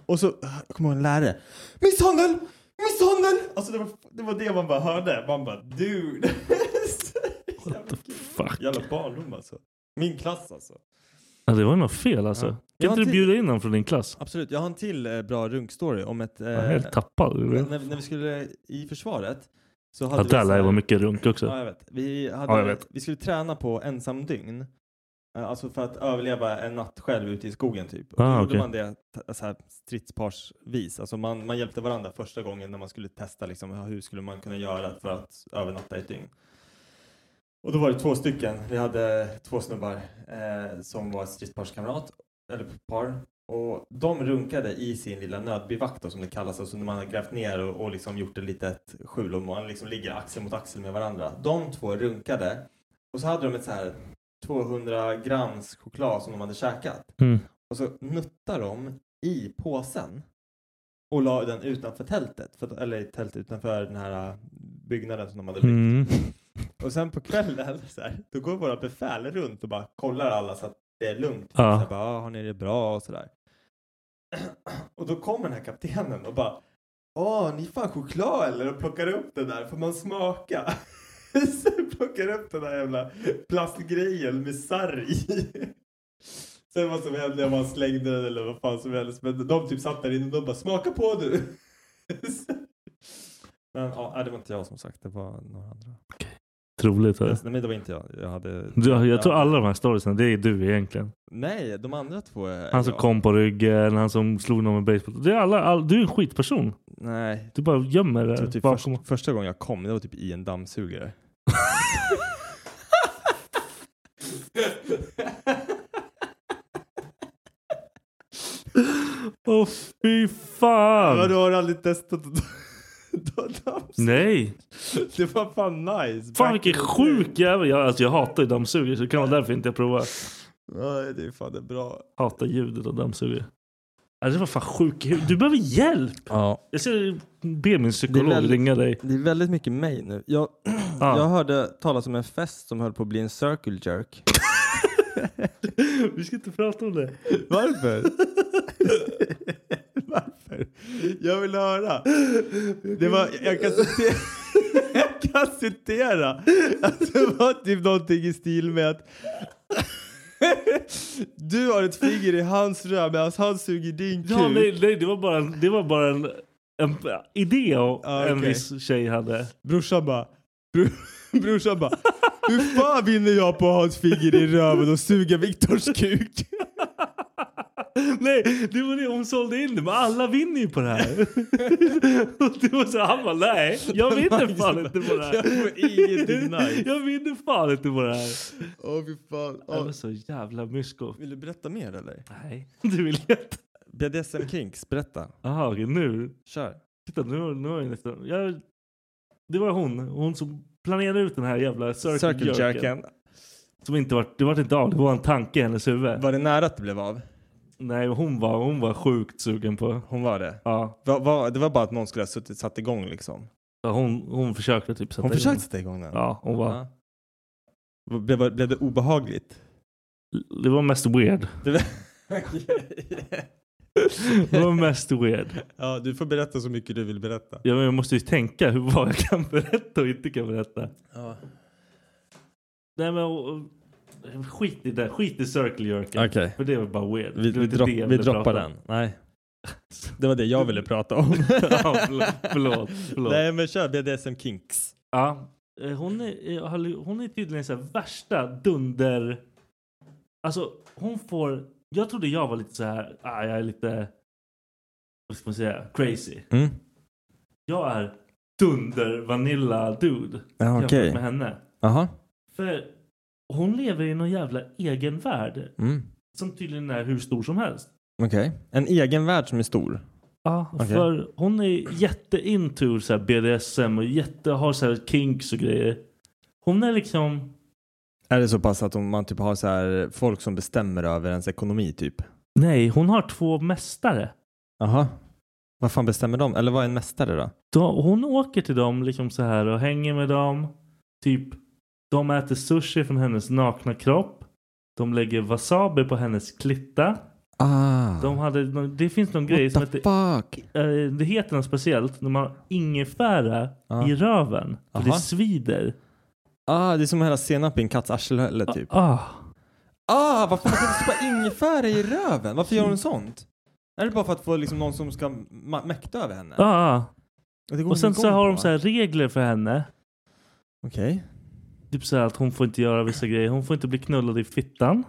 Speaker 3: Och så, jag kommer ihåg en lärare. Misshandel! Misshandel! Alltså det var det, var det man bara hörde. Man bara dude. <laughs> Så jävla kul.
Speaker 1: Fuck.
Speaker 3: jävla barndom alltså. Min klass alltså.
Speaker 1: Ja, det var nog fel alltså.
Speaker 3: Jag
Speaker 1: Kan
Speaker 3: har
Speaker 1: inte du
Speaker 3: tid.
Speaker 1: bjuda in honom från din klass?
Speaker 3: Absolut, jag har en till eh, bra runkstory om ett... Eh,
Speaker 1: Jag är helt tappad.
Speaker 3: när, när vi skulle i försvaret. Så hade
Speaker 1: Ja,
Speaker 3: vi
Speaker 1: där
Speaker 3: så
Speaker 1: lär
Speaker 3: här-
Speaker 1: det vara mycket runk
Speaker 3: Ja,
Speaker 1: också.
Speaker 3: jag vet. Vi, hade,
Speaker 1: Ja, jag vet.
Speaker 3: vi skulle träna på ensamdygn. Eh, Alltså för att överleva en natt själv ute i skogen typ. Och då
Speaker 1: Ah,
Speaker 3: gjorde
Speaker 1: okej.
Speaker 3: man det t- så här stridsparsvis. Alltså man, man hjälpte varandra första gången när man skulle testa liksom, hur skulle man kunna göra för att övernatta i ett dygn. Och då var det två stycken. Vi hade två snubbar eh, som var stridsparskamrat, eller par. Och de runkade i sin lilla nödbivakt då, som det kallas, alltså när man har grävt ner och, och liksom gjort ett litet skjul och man liksom ligger axel mot axel med varandra. De två runkade och så hade de ett så här 200 grams choklad som de hade käkat.
Speaker 1: Mm.
Speaker 3: Och så nuttade de i påsen och la den utanför tältet, för, att- eller i tältet utanför den här äh, byggnaden som de hade byggt.
Speaker 1: Mm.
Speaker 3: Och sen på kvällen <laughs> så här, då går våra befäl runt och bara kollar alla så att det är lugnt.
Speaker 1: Ja.
Speaker 3: Så här, bara, "Ah, har ni det bra och sådär. <clears throat> Och då kommer den här kaptenen och bara Åh, ni är fan choklad eller? Och plockar upp den där, får man smaka? <laughs> så plockar upp den där jävla plastgrejen med sarg <laughs> i. Sen vad som hände, om man slängde den eller vad fan som helst. Men de typ satt där inne och de bara smaka på du. <laughs> Men ja, det var inte jag som sagt, det var några andra.
Speaker 1: Troligt. Här.
Speaker 3: Alltså, Nej, men det var inte jag. Jag hade...
Speaker 1: Du, jag tror
Speaker 3: Ja.
Speaker 1: alla de här storiesen, det är du egentligen.
Speaker 3: Nej, de andra två är
Speaker 1: Han som
Speaker 3: jag.
Speaker 1: kom på ryggen, han som slog någon med baseball. Det är alla, all, du är en skitperson.
Speaker 3: Nej.
Speaker 1: Du bara gömmer
Speaker 3: Jag tror
Speaker 1: det.
Speaker 3: typ
Speaker 1: Eh, Bara
Speaker 3: först,
Speaker 1: kommer-
Speaker 3: första gången jag kom, det var typ i en dammsugare.
Speaker 1: Åh fy <laughs> fan!
Speaker 3: Vadå, har du aldrig testat att <laughs> ta dammsugare?
Speaker 1: Nej!
Speaker 3: Det var fan nice.
Speaker 1: Fan
Speaker 3: Back
Speaker 1: vilken
Speaker 3: in the day.
Speaker 1: sjuk jävel. Jag, alltså, jag hatar ju dammsugare så det kan vara därför inte jag provar.
Speaker 3: Nej, det är fan det är bra.
Speaker 1: Hatar ljudet av dammsugare. Alltså, det var fan sjuk. Du behöver hjälp!
Speaker 3: Ja.
Speaker 1: Jag ska be min
Speaker 3: Det
Speaker 1: psykolog
Speaker 3: är väldigt-
Speaker 1: ringa dig.
Speaker 3: Det är väldigt mycket mig nu. Jag,
Speaker 1: Ah.
Speaker 3: jag hörde talas om en fest som höll på att bli en circle jerk.
Speaker 1: <laughs> Vi ska inte prata om det.
Speaker 3: Varför? <laughs> Varför? Jag vill höra. Det var, jag, kan citera, <laughs> jag kan citera att det var typ någonting i stil med att <laughs> du har ett finger i hans röv medan han suger din kuk.
Speaker 1: Ja, nej, nej, det var bara, en- det var bara en, en idé och
Speaker 3: Ja,
Speaker 1: en
Speaker 3: okej.
Speaker 1: viss tjej hade.
Speaker 3: Brorsan bara, bro, <laughs> brorsan bara, hur fan vinner jag på att ha ett finger i röven och suga Viktors kuk?
Speaker 1: Nej, det var det hon sålde in det. Men alla vinner ju på det <laughs> här. Och det var så, han bara nej, jag vinner
Speaker 3: Magnus
Speaker 1: fan
Speaker 3: bara,
Speaker 1: inte på det här.
Speaker 3: "Jag får ingenting nice."
Speaker 1: Jag vinner fan inte på det här.
Speaker 3: Åh fy fan.
Speaker 1: Jag var så jävla mysko.
Speaker 3: Vill du berätta mer eller?
Speaker 1: Nej, du vill inte.
Speaker 3: BDSM Kinks, berätta.
Speaker 1: Jaha, okej, nu.
Speaker 3: Kör.
Speaker 1: Titta, nu har nu har jag efter. Jag, det var hon, hon som planerade ut den här jävla circle,
Speaker 3: Circle
Speaker 1: jerken.
Speaker 3: jerken.
Speaker 1: Som inte var, det var inte av, det var en tanke i hennes huvud.
Speaker 3: Var det nära att det blev av?
Speaker 1: Nej, hon var, hon var sjukt sugen på.
Speaker 3: Hon var det?
Speaker 1: Ja.
Speaker 3: Va, va, det var bara att någon skulle ha suttit, satt igång liksom?
Speaker 1: Ja, Hon, hon försökte typ sätta
Speaker 3: Hon
Speaker 1: igång.
Speaker 3: försökte sätta igång den?
Speaker 1: Ja, hon var.
Speaker 3: Ja. Blev, blev
Speaker 1: <laughs>
Speaker 3: det obehagligt?
Speaker 1: Det var mest
Speaker 3: <laughs>
Speaker 1: weird.
Speaker 3: Det var...
Speaker 1: Det var mest weird.
Speaker 3: ja, du får berätta så mycket du vill berätta.
Speaker 1: Jag, jag måste ju tänka hur vad jag kan berätta och inte kan berätta.
Speaker 3: Ja.
Speaker 1: Nej men och, och, skit i det. Skit i Circle Jerken.
Speaker 3: Okej.
Speaker 1: För det var bara weird.
Speaker 3: Vi,
Speaker 1: Det
Speaker 3: vi,
Speaker 1: var inte
Speaker 3: dropp,
Speaker 1: det jag
Speaker 3: vi
Speaker 1: ville
Speaker 3: droppar
Speaker 1: prata om.
Speaker 3: den. Nej. Det var det jag ville prata om.
Speaker 1: <laughs> Ja, förlåt, förlåt, förlåt.
Speaker 3: Nej men kör BDSM Kinks.
Speaker 1: Ja. Eh, Hon är, eh, har- hon är tydligen så här värsta dunder... Alltså hon får... Jag trodde jag var lite så här... Ah, jag är lite... Vad ska man säga? Crazy.
Speaker 3: Mm.
Speaker 1: Jag är dunder vanilla dude.
Speaker 3: Ja,
Speaker 1: jämfört
Speaker 3: okej.
Speaker 1: med henne.
Speaker 3: Aha.
Speaker 1: För hon lever i någon jävla egen värld.
Speaker 3: Mm.
Speaker 1: Som tydligen är hur stor som helst.
Speaker 3: Okej. En egen värld som är stor.
Speaker 1: Ja,
Speaker 3: Okej.
Speaker 1: för hon är jätteinto så här BDSM och jätte, har så här kinks och grejer. Hon är liksom...
Speaker 3: Är det så pass att om man typ har så här folk som bestämmer över ens ekonomi typ?
Speaker 1: Nej, hon har två mästare.
Speaker 3: Aha. Vad fan bestämmer de? Eller vad är en mästare då?
Speaker 1: De, hon åker till dem liksom så här och hänger med dem. Typ, de äter sushi från hennes nakna kropp. De lägger wasabi på hennes klitta.
Speaker 3: Ah.
Speaker 1: De hade, någon- det finns någon grej som
Speaker 3: What the
Speaker 1: heter
Speaker 3: fuck?
Speaker 1: Eh, det heter något speciellt när man har ingefära
Speaker 3: Ja.
Speaker 1: i röven. För det
Speaker 3: Ah. Aha.
Speaker 1: svider.
Speaker 3: Ah, det är som att hälla senap i en katts arsle typ.
Speaker 1: Ah,
Speaker 3: Ah, varför kan du stoppa ingefära i röven? Varför gör hon <laughs> sånt? Är det bara för att få liksom någon som ska ma- mäkta över henne?
Speaker 1: ah.
Speaker 3: Det går
Speaker 1: Och sen
Speaker 3: hon
Speaker 1: så
Speaker 3: igång
Speaker 1: har
Speaker 3: på,
Speaker 1: de
Speaker 3: va?
Speaker 1: så här regler för henne.
Speaker 3: Okej.
Speaker 1: Typ så här att hon får inte göra vissa grejer. Hon får inte bli knullad i fittan.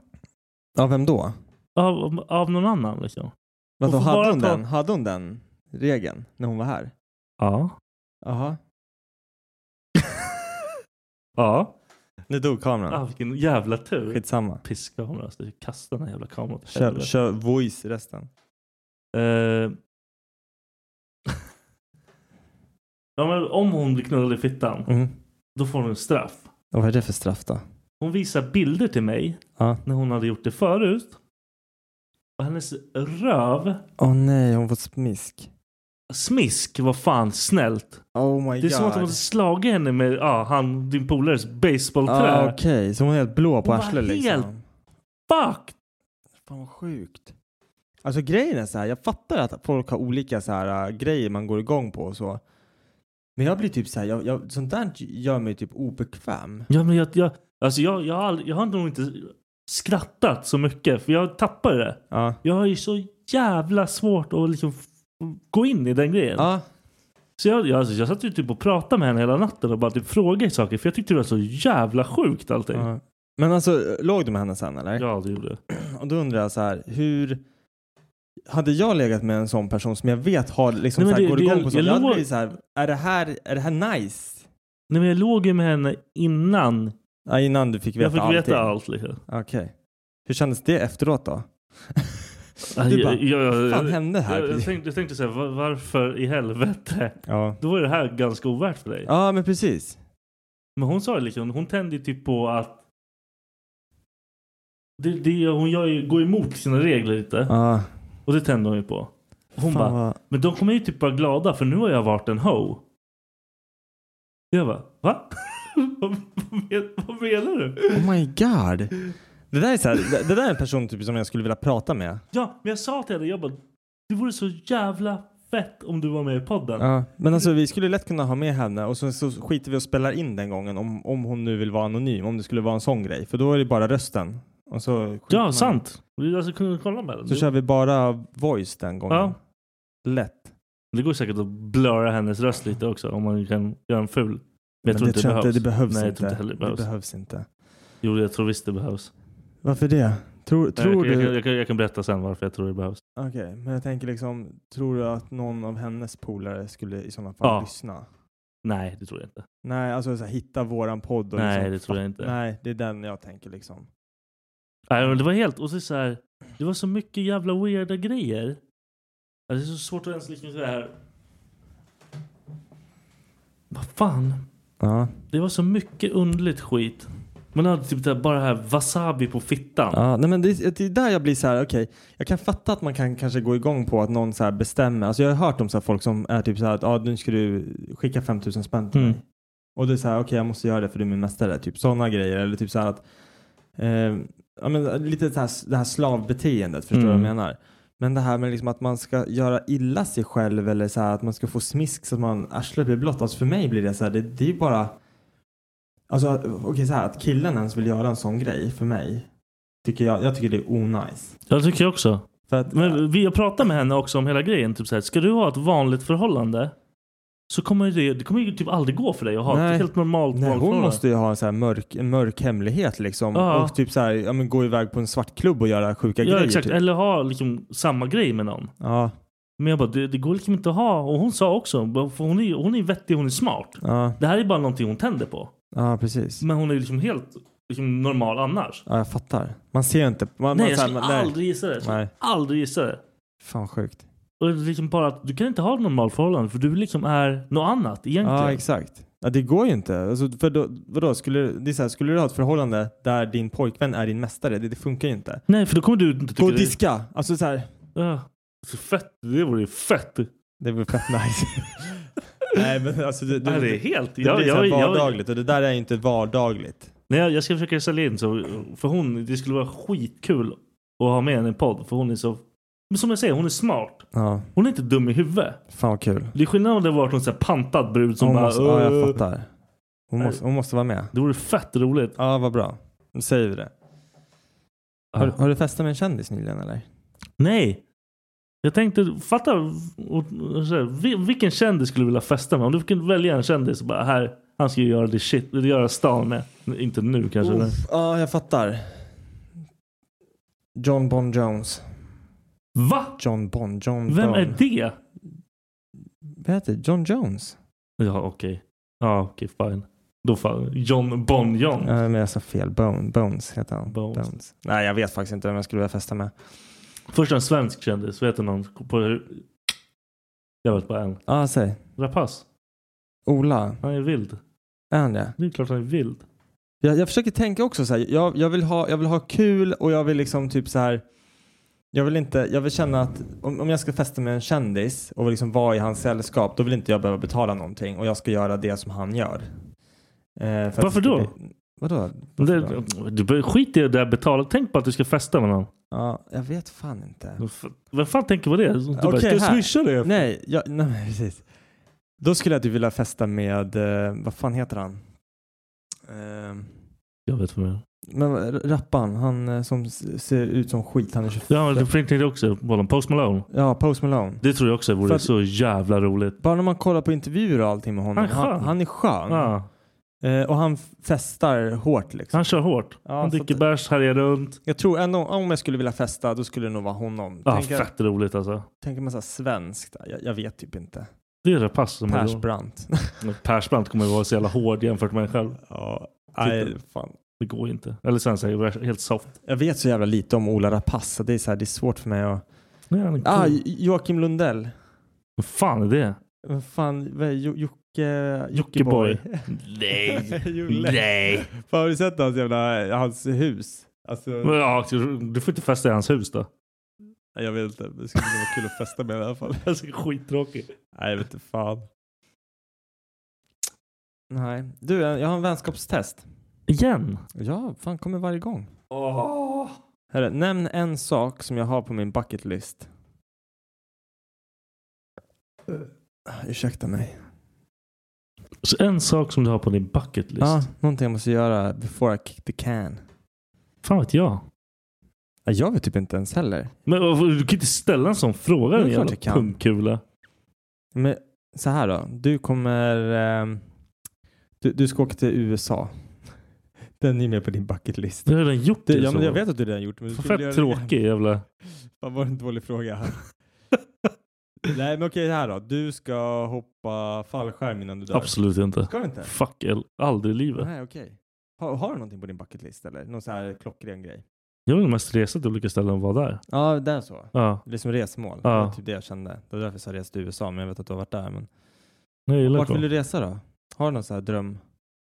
Speaker 3: Ja, vem då?
Speaker 1: Av, av någon annan liksom.
Speaker 3: Vadå,
Speaker 1: får
Speaker 3: hade
Speaker 1: bara
Speaker 3: hon,
Speaker 1: ta-
Speaker 3: den? hade hon den regeln när hon var här?
Speaker 1: Ja.
Speaker 3: Jaha.
Speaker 1: Ja.
Speaker 3: Nu dog kameran.
Speaker 1: Ah, vilken jävla tur.
Speaker 3: Skitsamma.
Speaker 1: Pisskamera. Alltså, jag kastar den här jävla kameran. åt
Speaker 3: Kör,
Speaker 1: helvete.
Speaker 3: kör voice resten.
Speaker 1: Eh. ja, men om hon blir knullad i fittan.
Speaker 3: Mm.
Speaker 1: Då får hon straff.
Speaker 3: Och vad är det för straff då?
Speaker 1: Hon visar bilder till mig.
Speaker 3: Ja.
Speaker 1: när hon hade gjort det förut. Och hennes röv,
Speaker 3: Åh nej, hon fått smisk.
Speaker 1: smisk, var fan snällt.
Speaker 3: Oh my
Speaker 1: Det är som att hon
Speaker 3: god.
Speaker 1: hade slagit henne med ja, han, din polares basebollträ.
Speaker 3: ah, Okej, så hon är helt blå på
Speaker 1: Hon var
Speaker 3: arslet liksom.
Speaker 1: helt- Fuck!
Speaker 3: Fan vad sjukt. Alltså grejen är så här, jag fattar att folk har olika så här, äh, grejer man går igång på och så. Men jag blir typ så här, jag, jag, sånt där gör mig typ obekväm.
Speaker 1: Ja, men jag, jag, alltså jag, jag, har, aldrig- jag har nog inte skrattat så mycket för jag tappar det.
Speaker 3: Ja.
Speaker 1: Jag har ju så jävla svårt att liksom f- gå in i den grejen.
Speaker 3: Ja,
Speaker 1: Så jag, jag, alltså, jag satt ju typ och pratade med henne hela natten och bara typ frågade saker för jag tyckte det var så jävla sjukt allting. Ja,
Speaker 3: ja. Men alltså, låg du med henne sen eller?
Speaker 1: det gjorde det.
Speaker 3: Och då undrar jag så här, hur... Hade jag legat med en sån person som jag vet har liksom
Speaker 1: Nej, men
Speaker 3: så här,
Speaker 1: det-
Speaker 3: går
Speaker 1: det-
Speaker 3: igång
Speaker 1: jag-
Speaker 3: på sånt,
Speaker 1: jag
Speaker 3: jag, hade
Speaker 1: låg-
Speaker 3: blivit så här, är det här, är det här nice?
Speaker 1: Nej, men jag låg ju med henne innan
Speaker 3: Ja, innan du fick veta
Speaker 1: jag fick
Speaker 3: allting.
Speaker 1: veta allt. Liksom.
Speaker 3: Okej. Hur kändes det efteråt då?
Speaker 1: Aj,
Speaker 3: Du bara,
Speaker 1: aj, aj, aj,
Speaker 3: vad fan
Speaker 1: aj,
Speaker 3: hände här?
Speaker 1: Jag, jag, tänkte, jag tänkte säga, varför i helvete?
Speaker 3: Ja.
Speaker 1: Då var det här ganska ovärt för dig.
Speaker 3: ja, men precis.
Speaker 1: Men hon sa ju liksom, hon tände ju typ på att det, det, hon gör ju, går emot sina regler lite.
Speaker 3: Ja.
Speaker 1: Och det tände hon ju på. Och Hon
Speaker 3: Fan,
Speaker 1: bara,
Speaker 3: vad-
Speaker 1: men de kommer ju typ vara glada för nu har jag varit en ho. Jag bara, va? <laughs> vad, men- vad menar du?
Speaker 3: Oh my god. Det där är, så här, det, det där är en person typ som jag skulle vilja prata med.
Speaker 1: Ja, men jag sa till henne, jag bara, det vore så jävla fett om du var med i podden.
Speaker 3: Ja. Men alltså vi skulle lätt kunna ha med henne och så, så skiter vi och spelar in den gången om, om hon nu vill vara anonym. Om det skulle vara en sån grej. För då är det bara rösten. Och så skiter
Speaker 1: Ja,
Speaker 3: man-
Speaker 1: sant. Vi alltså kunde kolla med den.
Speaker 3: Så
Speaker 1: Det-
Speaker 3: kör vi bara voice den gången.
Speaker 1: Ja.
Speaker 3: Lätt.
Speaker 1: Det går säkert att blurra hennes röst lite också om man kan göra en ful. Men jag tror
Speaker 3: det
Speaker 1: inte det
Speaker 3: tror
Speaker 1: behövs.
Speaker 3: jag inte- det behövs
Speaker 1: Nej, jag
Speaker 3: inte.
Speaker 1: tror inte heller det behövs.
Speaker 3: Det behövs inte.
Speaker 1: Jo, jag tror visst det behövs.
Speaker 3: Varför det? Tror,
Speaker 1: Nej,
Speaker 3: tror
Speaker 1: jag,
Speaker 3: du...
Speaker 1: kan, jag, kan, jag, kan, jag kan berätta sen varför jag tror det behövs.
Speaker 3: Okej, men jag tänker liksom, tror du att någon av hennes polare skulle i sådana fall
Speaker 1: Ja.
Speaker 3: lyssna?
Speaker 1: Nej, det tror jag inte.
Speaker 3: Nej, alltså så här, hitta våran podd och
Speaker 1: Nej,
Speaker 3: liksom,
Speaker 1: det tror jag
Speaker 3: fatt-
Speaker 1: inte.
Speaker 3: Nej, det är den jag tänker liksom.
Speaker 1: Nej, men det var helt... Och så, så här, det var så mycket jävla weirda grejer. Ja, Det är så svårt att ens liksom så här... Vad fan?
Speaker 3: Ja.
Speaker 1: Det var så mycket underligt skit. Man hade typ det här, bara det här wasabi på fittan.
Speaker 3: Ja, nej men det, är- det är där jag blir så här, okej, jag kan fatta att man kan kanske gå igång på att någon så här bestämmer. Alltså jag har hört om så här folk som är typ så här att ah, nu ska du skicka 5000 spänn till
Speaker 1: Mm.
Speaker 3: mig. Och det är så här, okej jag måste göra det för du är min mästare. Typ sådana grejer. Eller typ så här att, eh, ja men lite så här, det här slavbeteendet, förstår du vad jag
Speaker 1: Mm.
Speaker 3: menar? Men det här med liksom att man ska göra illa sig själv eller så här att man ska få smisk så att man arslet blir blått. Alltså för mig blir det så här, det, det är ju bara Alltså okej så här att killen ens vill göra en sån grej för mig. Tycker jag, jag tycker det är onajs.
Speaker 1: Jag tycker jag också.
Speaker 3: För att,
Speaker 1: Men vi, jag pratade med henne också om hela grejen. Typ så här, ska du ha ett vanligt förhållande så kommer ju det, det kommer ju typ aldrig gå för dig att ha
Speaker 3: Nej.
Speaker 1: ett helt normalt
Speaker 3: nej,
Speaker 1: vanligt
Speaker 3: hon
Speaker 1: förhållande.
Speaker 3: måste ju ha en, så här mörk, en mörk hemlighet liksom.
Speaker 1: Ja.
Speaker 3: Och typ så här, ja, men gå iväg på en svartklubb och göra sjuka
Speaker 1: ja,
Speaker 3: grejer.
Speaker 1: exakt.
Speaker 3: Typ.
Speaker 1: Eller ha liksom samma grej med någon.
Speaker 3: Ja,
Speaker 1: Men jag bara, det, det går liksom inte att ha. Och hon sa också, för hon är, hon är vettig, hon är smart.
Speaker 3: ja,
Speaker 1: Det här är bara någonting hon tänder på.
Speaker 3: ja, precis.
Speaker 1: Men hon är liksom helt liksom, normal annars.
Speaker 3: Ja, jag fattar. Man ser inte. Man,
Speaker 1: nej,
Speaker 3: man,
Speaker 1: jag
Speaker 3: så här,
Speaker 1: skulle
Speaker 3: man- nej.
Speaker 1: aldrig gissa det. Jag skulle
Speaker 3: Nej.
Speaker 1: Aldrig gissa det.
Speaker 3: Fan sjukt.
Speaker 1: Och det är liksom bara att du kan inte ha ett normalt förhållande för du liksom är något annat egentligen.
Speaker 3: Ja, exakt. Ja, det går ju inte. Alltså, för då, vadå, skulle, det är så här, skulle du ha ett förhållande där din pojkvän är din mästare? Det, det funkar ju inte.
Speaker 1: Nej, för då kommer du inte tycka
Speaker 3: Gå och
Speaker 1: det-
Speaker 3: diska. Alltså så här,
Speaker 1: Ja. Så fett. Det vore ju fett.
Speaker 3: det blir fett <laughs> nice. Nej men alltså det,
Speaker 1: Ja, det är helt...
Speaker 3: det
Speaker 1: jag-
Speaker 3: blir
Speaker 1: jag-
Speaker 3: så här
Speaker 1: jag-
Speaker 3: vardagligt och det där är ju inte vardagligt.
Speaker 1: Nej, jag- jag ska försöka sälja in så, för hon, det skulle vara skitkul att ha med henne i podd. För hon är så, men som jag säger, hon är smart.
Speaker 3: Ja,
Speaker 1: Hon är inte dum i huvudet.
Speaker 3: fan vad kul.
Speaker 1: Det är skillnad om det varit någon sån här pantad brud som
Speaker 3: hon
Speaker 1: bara...
Speaker 3: måste, ja,
Speaker 1: "Åh."
Speaker 3: jag fattar. Hon
Speaker 1: Nej.
Speaker 3: måste, hon måste vara med.
Speaker 1: Det vore fett roligt.
Speaker 3: Ja, vad bra. Nu säger vi det. Har, har du festat med en kändis nyligen eller?
Speaker 1: Nej. Jag tänkte, fatta och, och, så här, vi- vilken kändis skulle du vilja festa med? Om du kunde välja en kändis och bara här, han ska ju göra det shit, göra stan med. Inte nu kanske. men-
Speaker 3: Uff, Ja, jag fattar. John Bon Jones.
Speaker 1: Va?
Speaker 3: John Bon, John
Speaker 1: Vem
Speaker 3: Bon.
Speaker 1: är det?
Speaker 3: Vad heter det? John Jones?
Speaker 1: Ja okej. Ja okej fine. Då fan. John Bon John.
Speaker 3: Ja, men jag sa fel. Bone, Bones heter han.
Speaker 1: Bones.
Speaker 3: Nej, jag vet faktiskt inte vem jag skulle vilja festa med.
Speaker 1: Först en svensk kändis. Vet du någon? På, jag vet bara en.
Speaker 3: Ja, säg.
Speaker 1: Rapace.
Speaker 3: Ola.
Speaker 1: Han är vild.
Speaker 3: Är han det?
Speaker 1: Det är klart han är vild.
Speaker 3: Jag, jag försöker tänka också så här. Jag, jag, vill ha, jag vill ha kul och jag vill liksom typ så här. Jag vill inte, jag vill känna att om, om jag ska festa med en kändis och liksom vara i hans sällskap då vill inte jag behöva betala någonting och jag ska göra det som han gör. Eh, för att-
Speaker 1: Varför då?
Speaker 3: Vadå?
Speaker 1: Men
Speaker 3: Varför
Speaker 1: Det,
Speaker 3: då?
Speaker 1: du, bör- skit i det där betala. Tänk på att du ska festa med någon.
Speaker 3: Ja, jag vet fan inte.
Speaker 1: Vem fan tänker på det? Du bara,
Speaker 3: Okej,
Speaker 1: ska jag
Speaker 3: här.
Speaker 1: swisha det?
Speaker 3: Nej, jag, nej men precis. Då skulle jag typ vilja festa med, eh, vad fan heter han? Eh,
Speaker 1: Jag vet vad jag menar.
Speaker 3: men vad- rapparen, han eh, som s- ser ut som skit, han är 25.
Speaker 1: Ja, men det tänkte jag också på honom. Post Malone.
Speaker 3: Ja, Post Malone.
Speaker 1: Det tror jag också vore
Speaker 3: För att-
Speaker 1: så jävla roligt.
Speaker 3: Bara när man kollar på intervjuer och allting med honom.
Speaker 1: Han är skön.
Speaker 3: Han, han är skön.
Speaker 1: Ja,
Speaker 3: Eh, och han festar hårt liksom.
Speaker 1: han kör hårt.
Speaker 3: Ja,
Speaker 1: han
Speaker 3: så
Speaker 1: dricker
Speaker 3: att-
Speaker 1: bärs, härjar runt.
Speaker 3: Jag tror ändå om jag skulle vilja festa då skulle det nog vara honom.
Speaker 1: Ja,
Speaker 3: tänker,
Speaker 1: fett roligt alltså.
Speaker 3: tänker man såhär svenskt? Jag, jag vet typ inte.
Speaker 1: Det är Rapace som är rolig. <laughs>
Speaker 3: Persbrandt.
Speaker 1: Persbrandt kommer ju vara så jävla hård jämfört med en själv.
Speaker 3: ja, nej, Typ fan.
Speaker 1: Det går ju inte. Eller sen säger jag helt soft.
Speaker 3: Jag vet så jävla lite om Ola Rapace. så Det är, så här, det är svårt för mig att...
Speaker 1: Nej, han är
Speaker 3: Ah,
Speaker 1: cool.
Speaker 3: Jo- Joakim Lundell.
Speaker 1: Vad fan är det?
Speaker 3: Vad fan, vad är Jo- Jocke...
Speaker 1: Jockiboi.
Speaker 3: Jockiboi. <laughs>
Speaker 1: Nej.
Speaker 3: Jolle.
Speaker 1: Nej.
Speaker 3: Fan, har du sett hans jävla, hans hus? Alltså,
Speaker 1: Men, Ja, du får inte festa i hans hus då.
Speaker 3: jag vet inte. Det skulle vara kul att festa med i alla fall. <laughs>
Speaker 1: Alltså skittråkig.
Speaker 3: Nej, jag vet inte fan. Nej. Du, jag har en vänskapstest.
Speaker 1: Igen?
Speaker 3: Ja, fan kommer varje gång. Herre, nämn en sak som jag har på min bucket list.
Speaker 1: Eh,
Speaker 3: Ursäkta mig.
Speaker 1: Så en sak som du har på din bucket list.
Speaker 3: Ja, någonting jag måste göra before I kick the can.
Speaker 1: Fan vet jag.
Speaker 3: Ja, jag vet typ inte ens heller.
Speaker 1: Men vad- du kan inte ställa en sån fråga
Speaker 3: Det är
Speaker 1: din
Speaker 3: klart
Speaker 1: jävla
Speaker 3: jag kan.
Speaker 1: pungkula.
Speaker 3: Men så här då. Du kommer... ehm, du, du ska åka till USA. <laughs> Den är med på din bucket list.
Speaker 1: Du har redan gjort det.
Speaker 3: Du, ja,
Speaker 1: så.
Speaker 3: men jag vet att du redan gjort men du
Speaker 1: Fan,
Speaker 3: skulle göra
Speaker 1: Fett
Speaker 3: det igen.
Speaker 1: tråkig jävla...
Speaker 3: Fan var det en
Speaker 1: <laughs>
Speaker 3: dålig fråga. Nej men okej här då. Du ska hoppa fallskärm innan du dör.
Speaker 1: Absolut inte.
Speaker 3: Ska du inte?
Speaker 1: Fuck, el- aldrig i livet.
Speaker 3: Nej okej. Har, har du någonting på din bucket list eller? Någon så här klockren grej?
Speaker 1: Jag vill mest resa till olika ställen och vara där.
Speaker 3: Ja det är så.
Speaker 1: Ja,
Speaker 3: Det är som resmål.
Speaker 1: Ja.
Speaker 3: Det var typ det jag kände. Det var därför jag sa res till USA men jag vet att du har varit där. Men...
Speaker 1: jag gillar
Speaker 3: Vart
Speaker 1: det.
Speaker 3: vill du resa då? Har du någon så här dröm?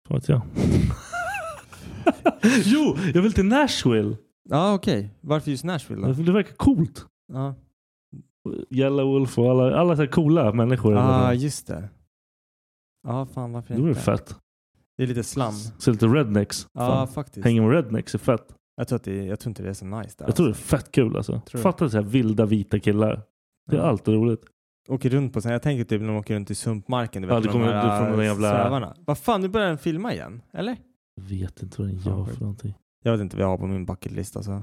Speaker 1: Fan vet jag. <laughs> jo, jag vill till Nashville.
Speaker 3: Ja, okej. Varför just Nashville då?
Speaker 1: Det verkar coolt.
Speaker 3: Ja.
Speaker 1: Yellow Wolf och alla, alla så här coola människor.
Speaker 3: Ah, just det. Ja, fan varför
Speaker 1: det vore
Speaker 3: inte?
Speaker 1: fett.
Speaker 3: Det är lite slam.
Speaker 1: Så lite rednecks.
Speaker 3: Ja, faktiskt.
Speaker 1: Hänga med rednecks är fett.
Speaker 3: Jag tror, att det, jag tror inte det är så nice där.
Speaker 1: Jag tror det är
Speaker 3: alltså.
Speaker 1: fett kul alltså.
Speaker 3: Tror du?
Speaker 1: Fatta så här vilda vita killar. Det är
Speaker 3: Ja.
Speaker 1: alltid roligt.
Speaker 3: Åker runt på sån här, jag tänker typ när de åker runt i sumpmarken. Du vet,
Speaker 1: Ja, det
Speaker 3: med
Speaker 1: kommer
Speaker 3: de här
Speaker 1: ut från den jävla-
Speaker 3: svävarna. Vad fan, nu börjar den filma igen. Eller?
Speaker 1: Jag vet inte vad den
Speaker 3: Fan,
Speaker 1: gör
Speaker 3: sjukt.
Speaker 1: för någonting.
Speaker 3: Jag vet inte vad jag har på min bucketlist alltså.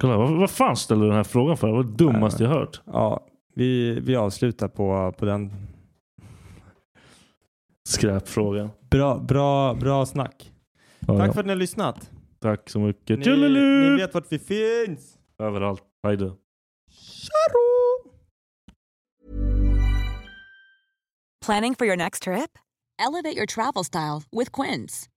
Speaker 1: Kolla, vad, vad fan ställer du den här frågan för? Det var det dummaste
Speaker 3: Nej,
Speaker 1: jag hört.
Speaker 3: Ja, vi, vi avslutar på, på den.
Speaker 1: Skräpfrågan.
Speaker 3: Bra, bra, bra snack.
Speaker 1: Ja,
Speaker 3: Tack
Speaker 1: ja.
Speaker 3: för att ni har lyssnat.
Speaker 1: Tack så mycket.
Speaker 3: Ni,
Speaker 1: Tjolilu!
Speaker 3: ni vet vart vi finns.
Speaker 1: Överallt. Hej då.
Speaker 3: Tjaro!
Speaker 5: Planning for your next trip? Elevate your travel style with Quince.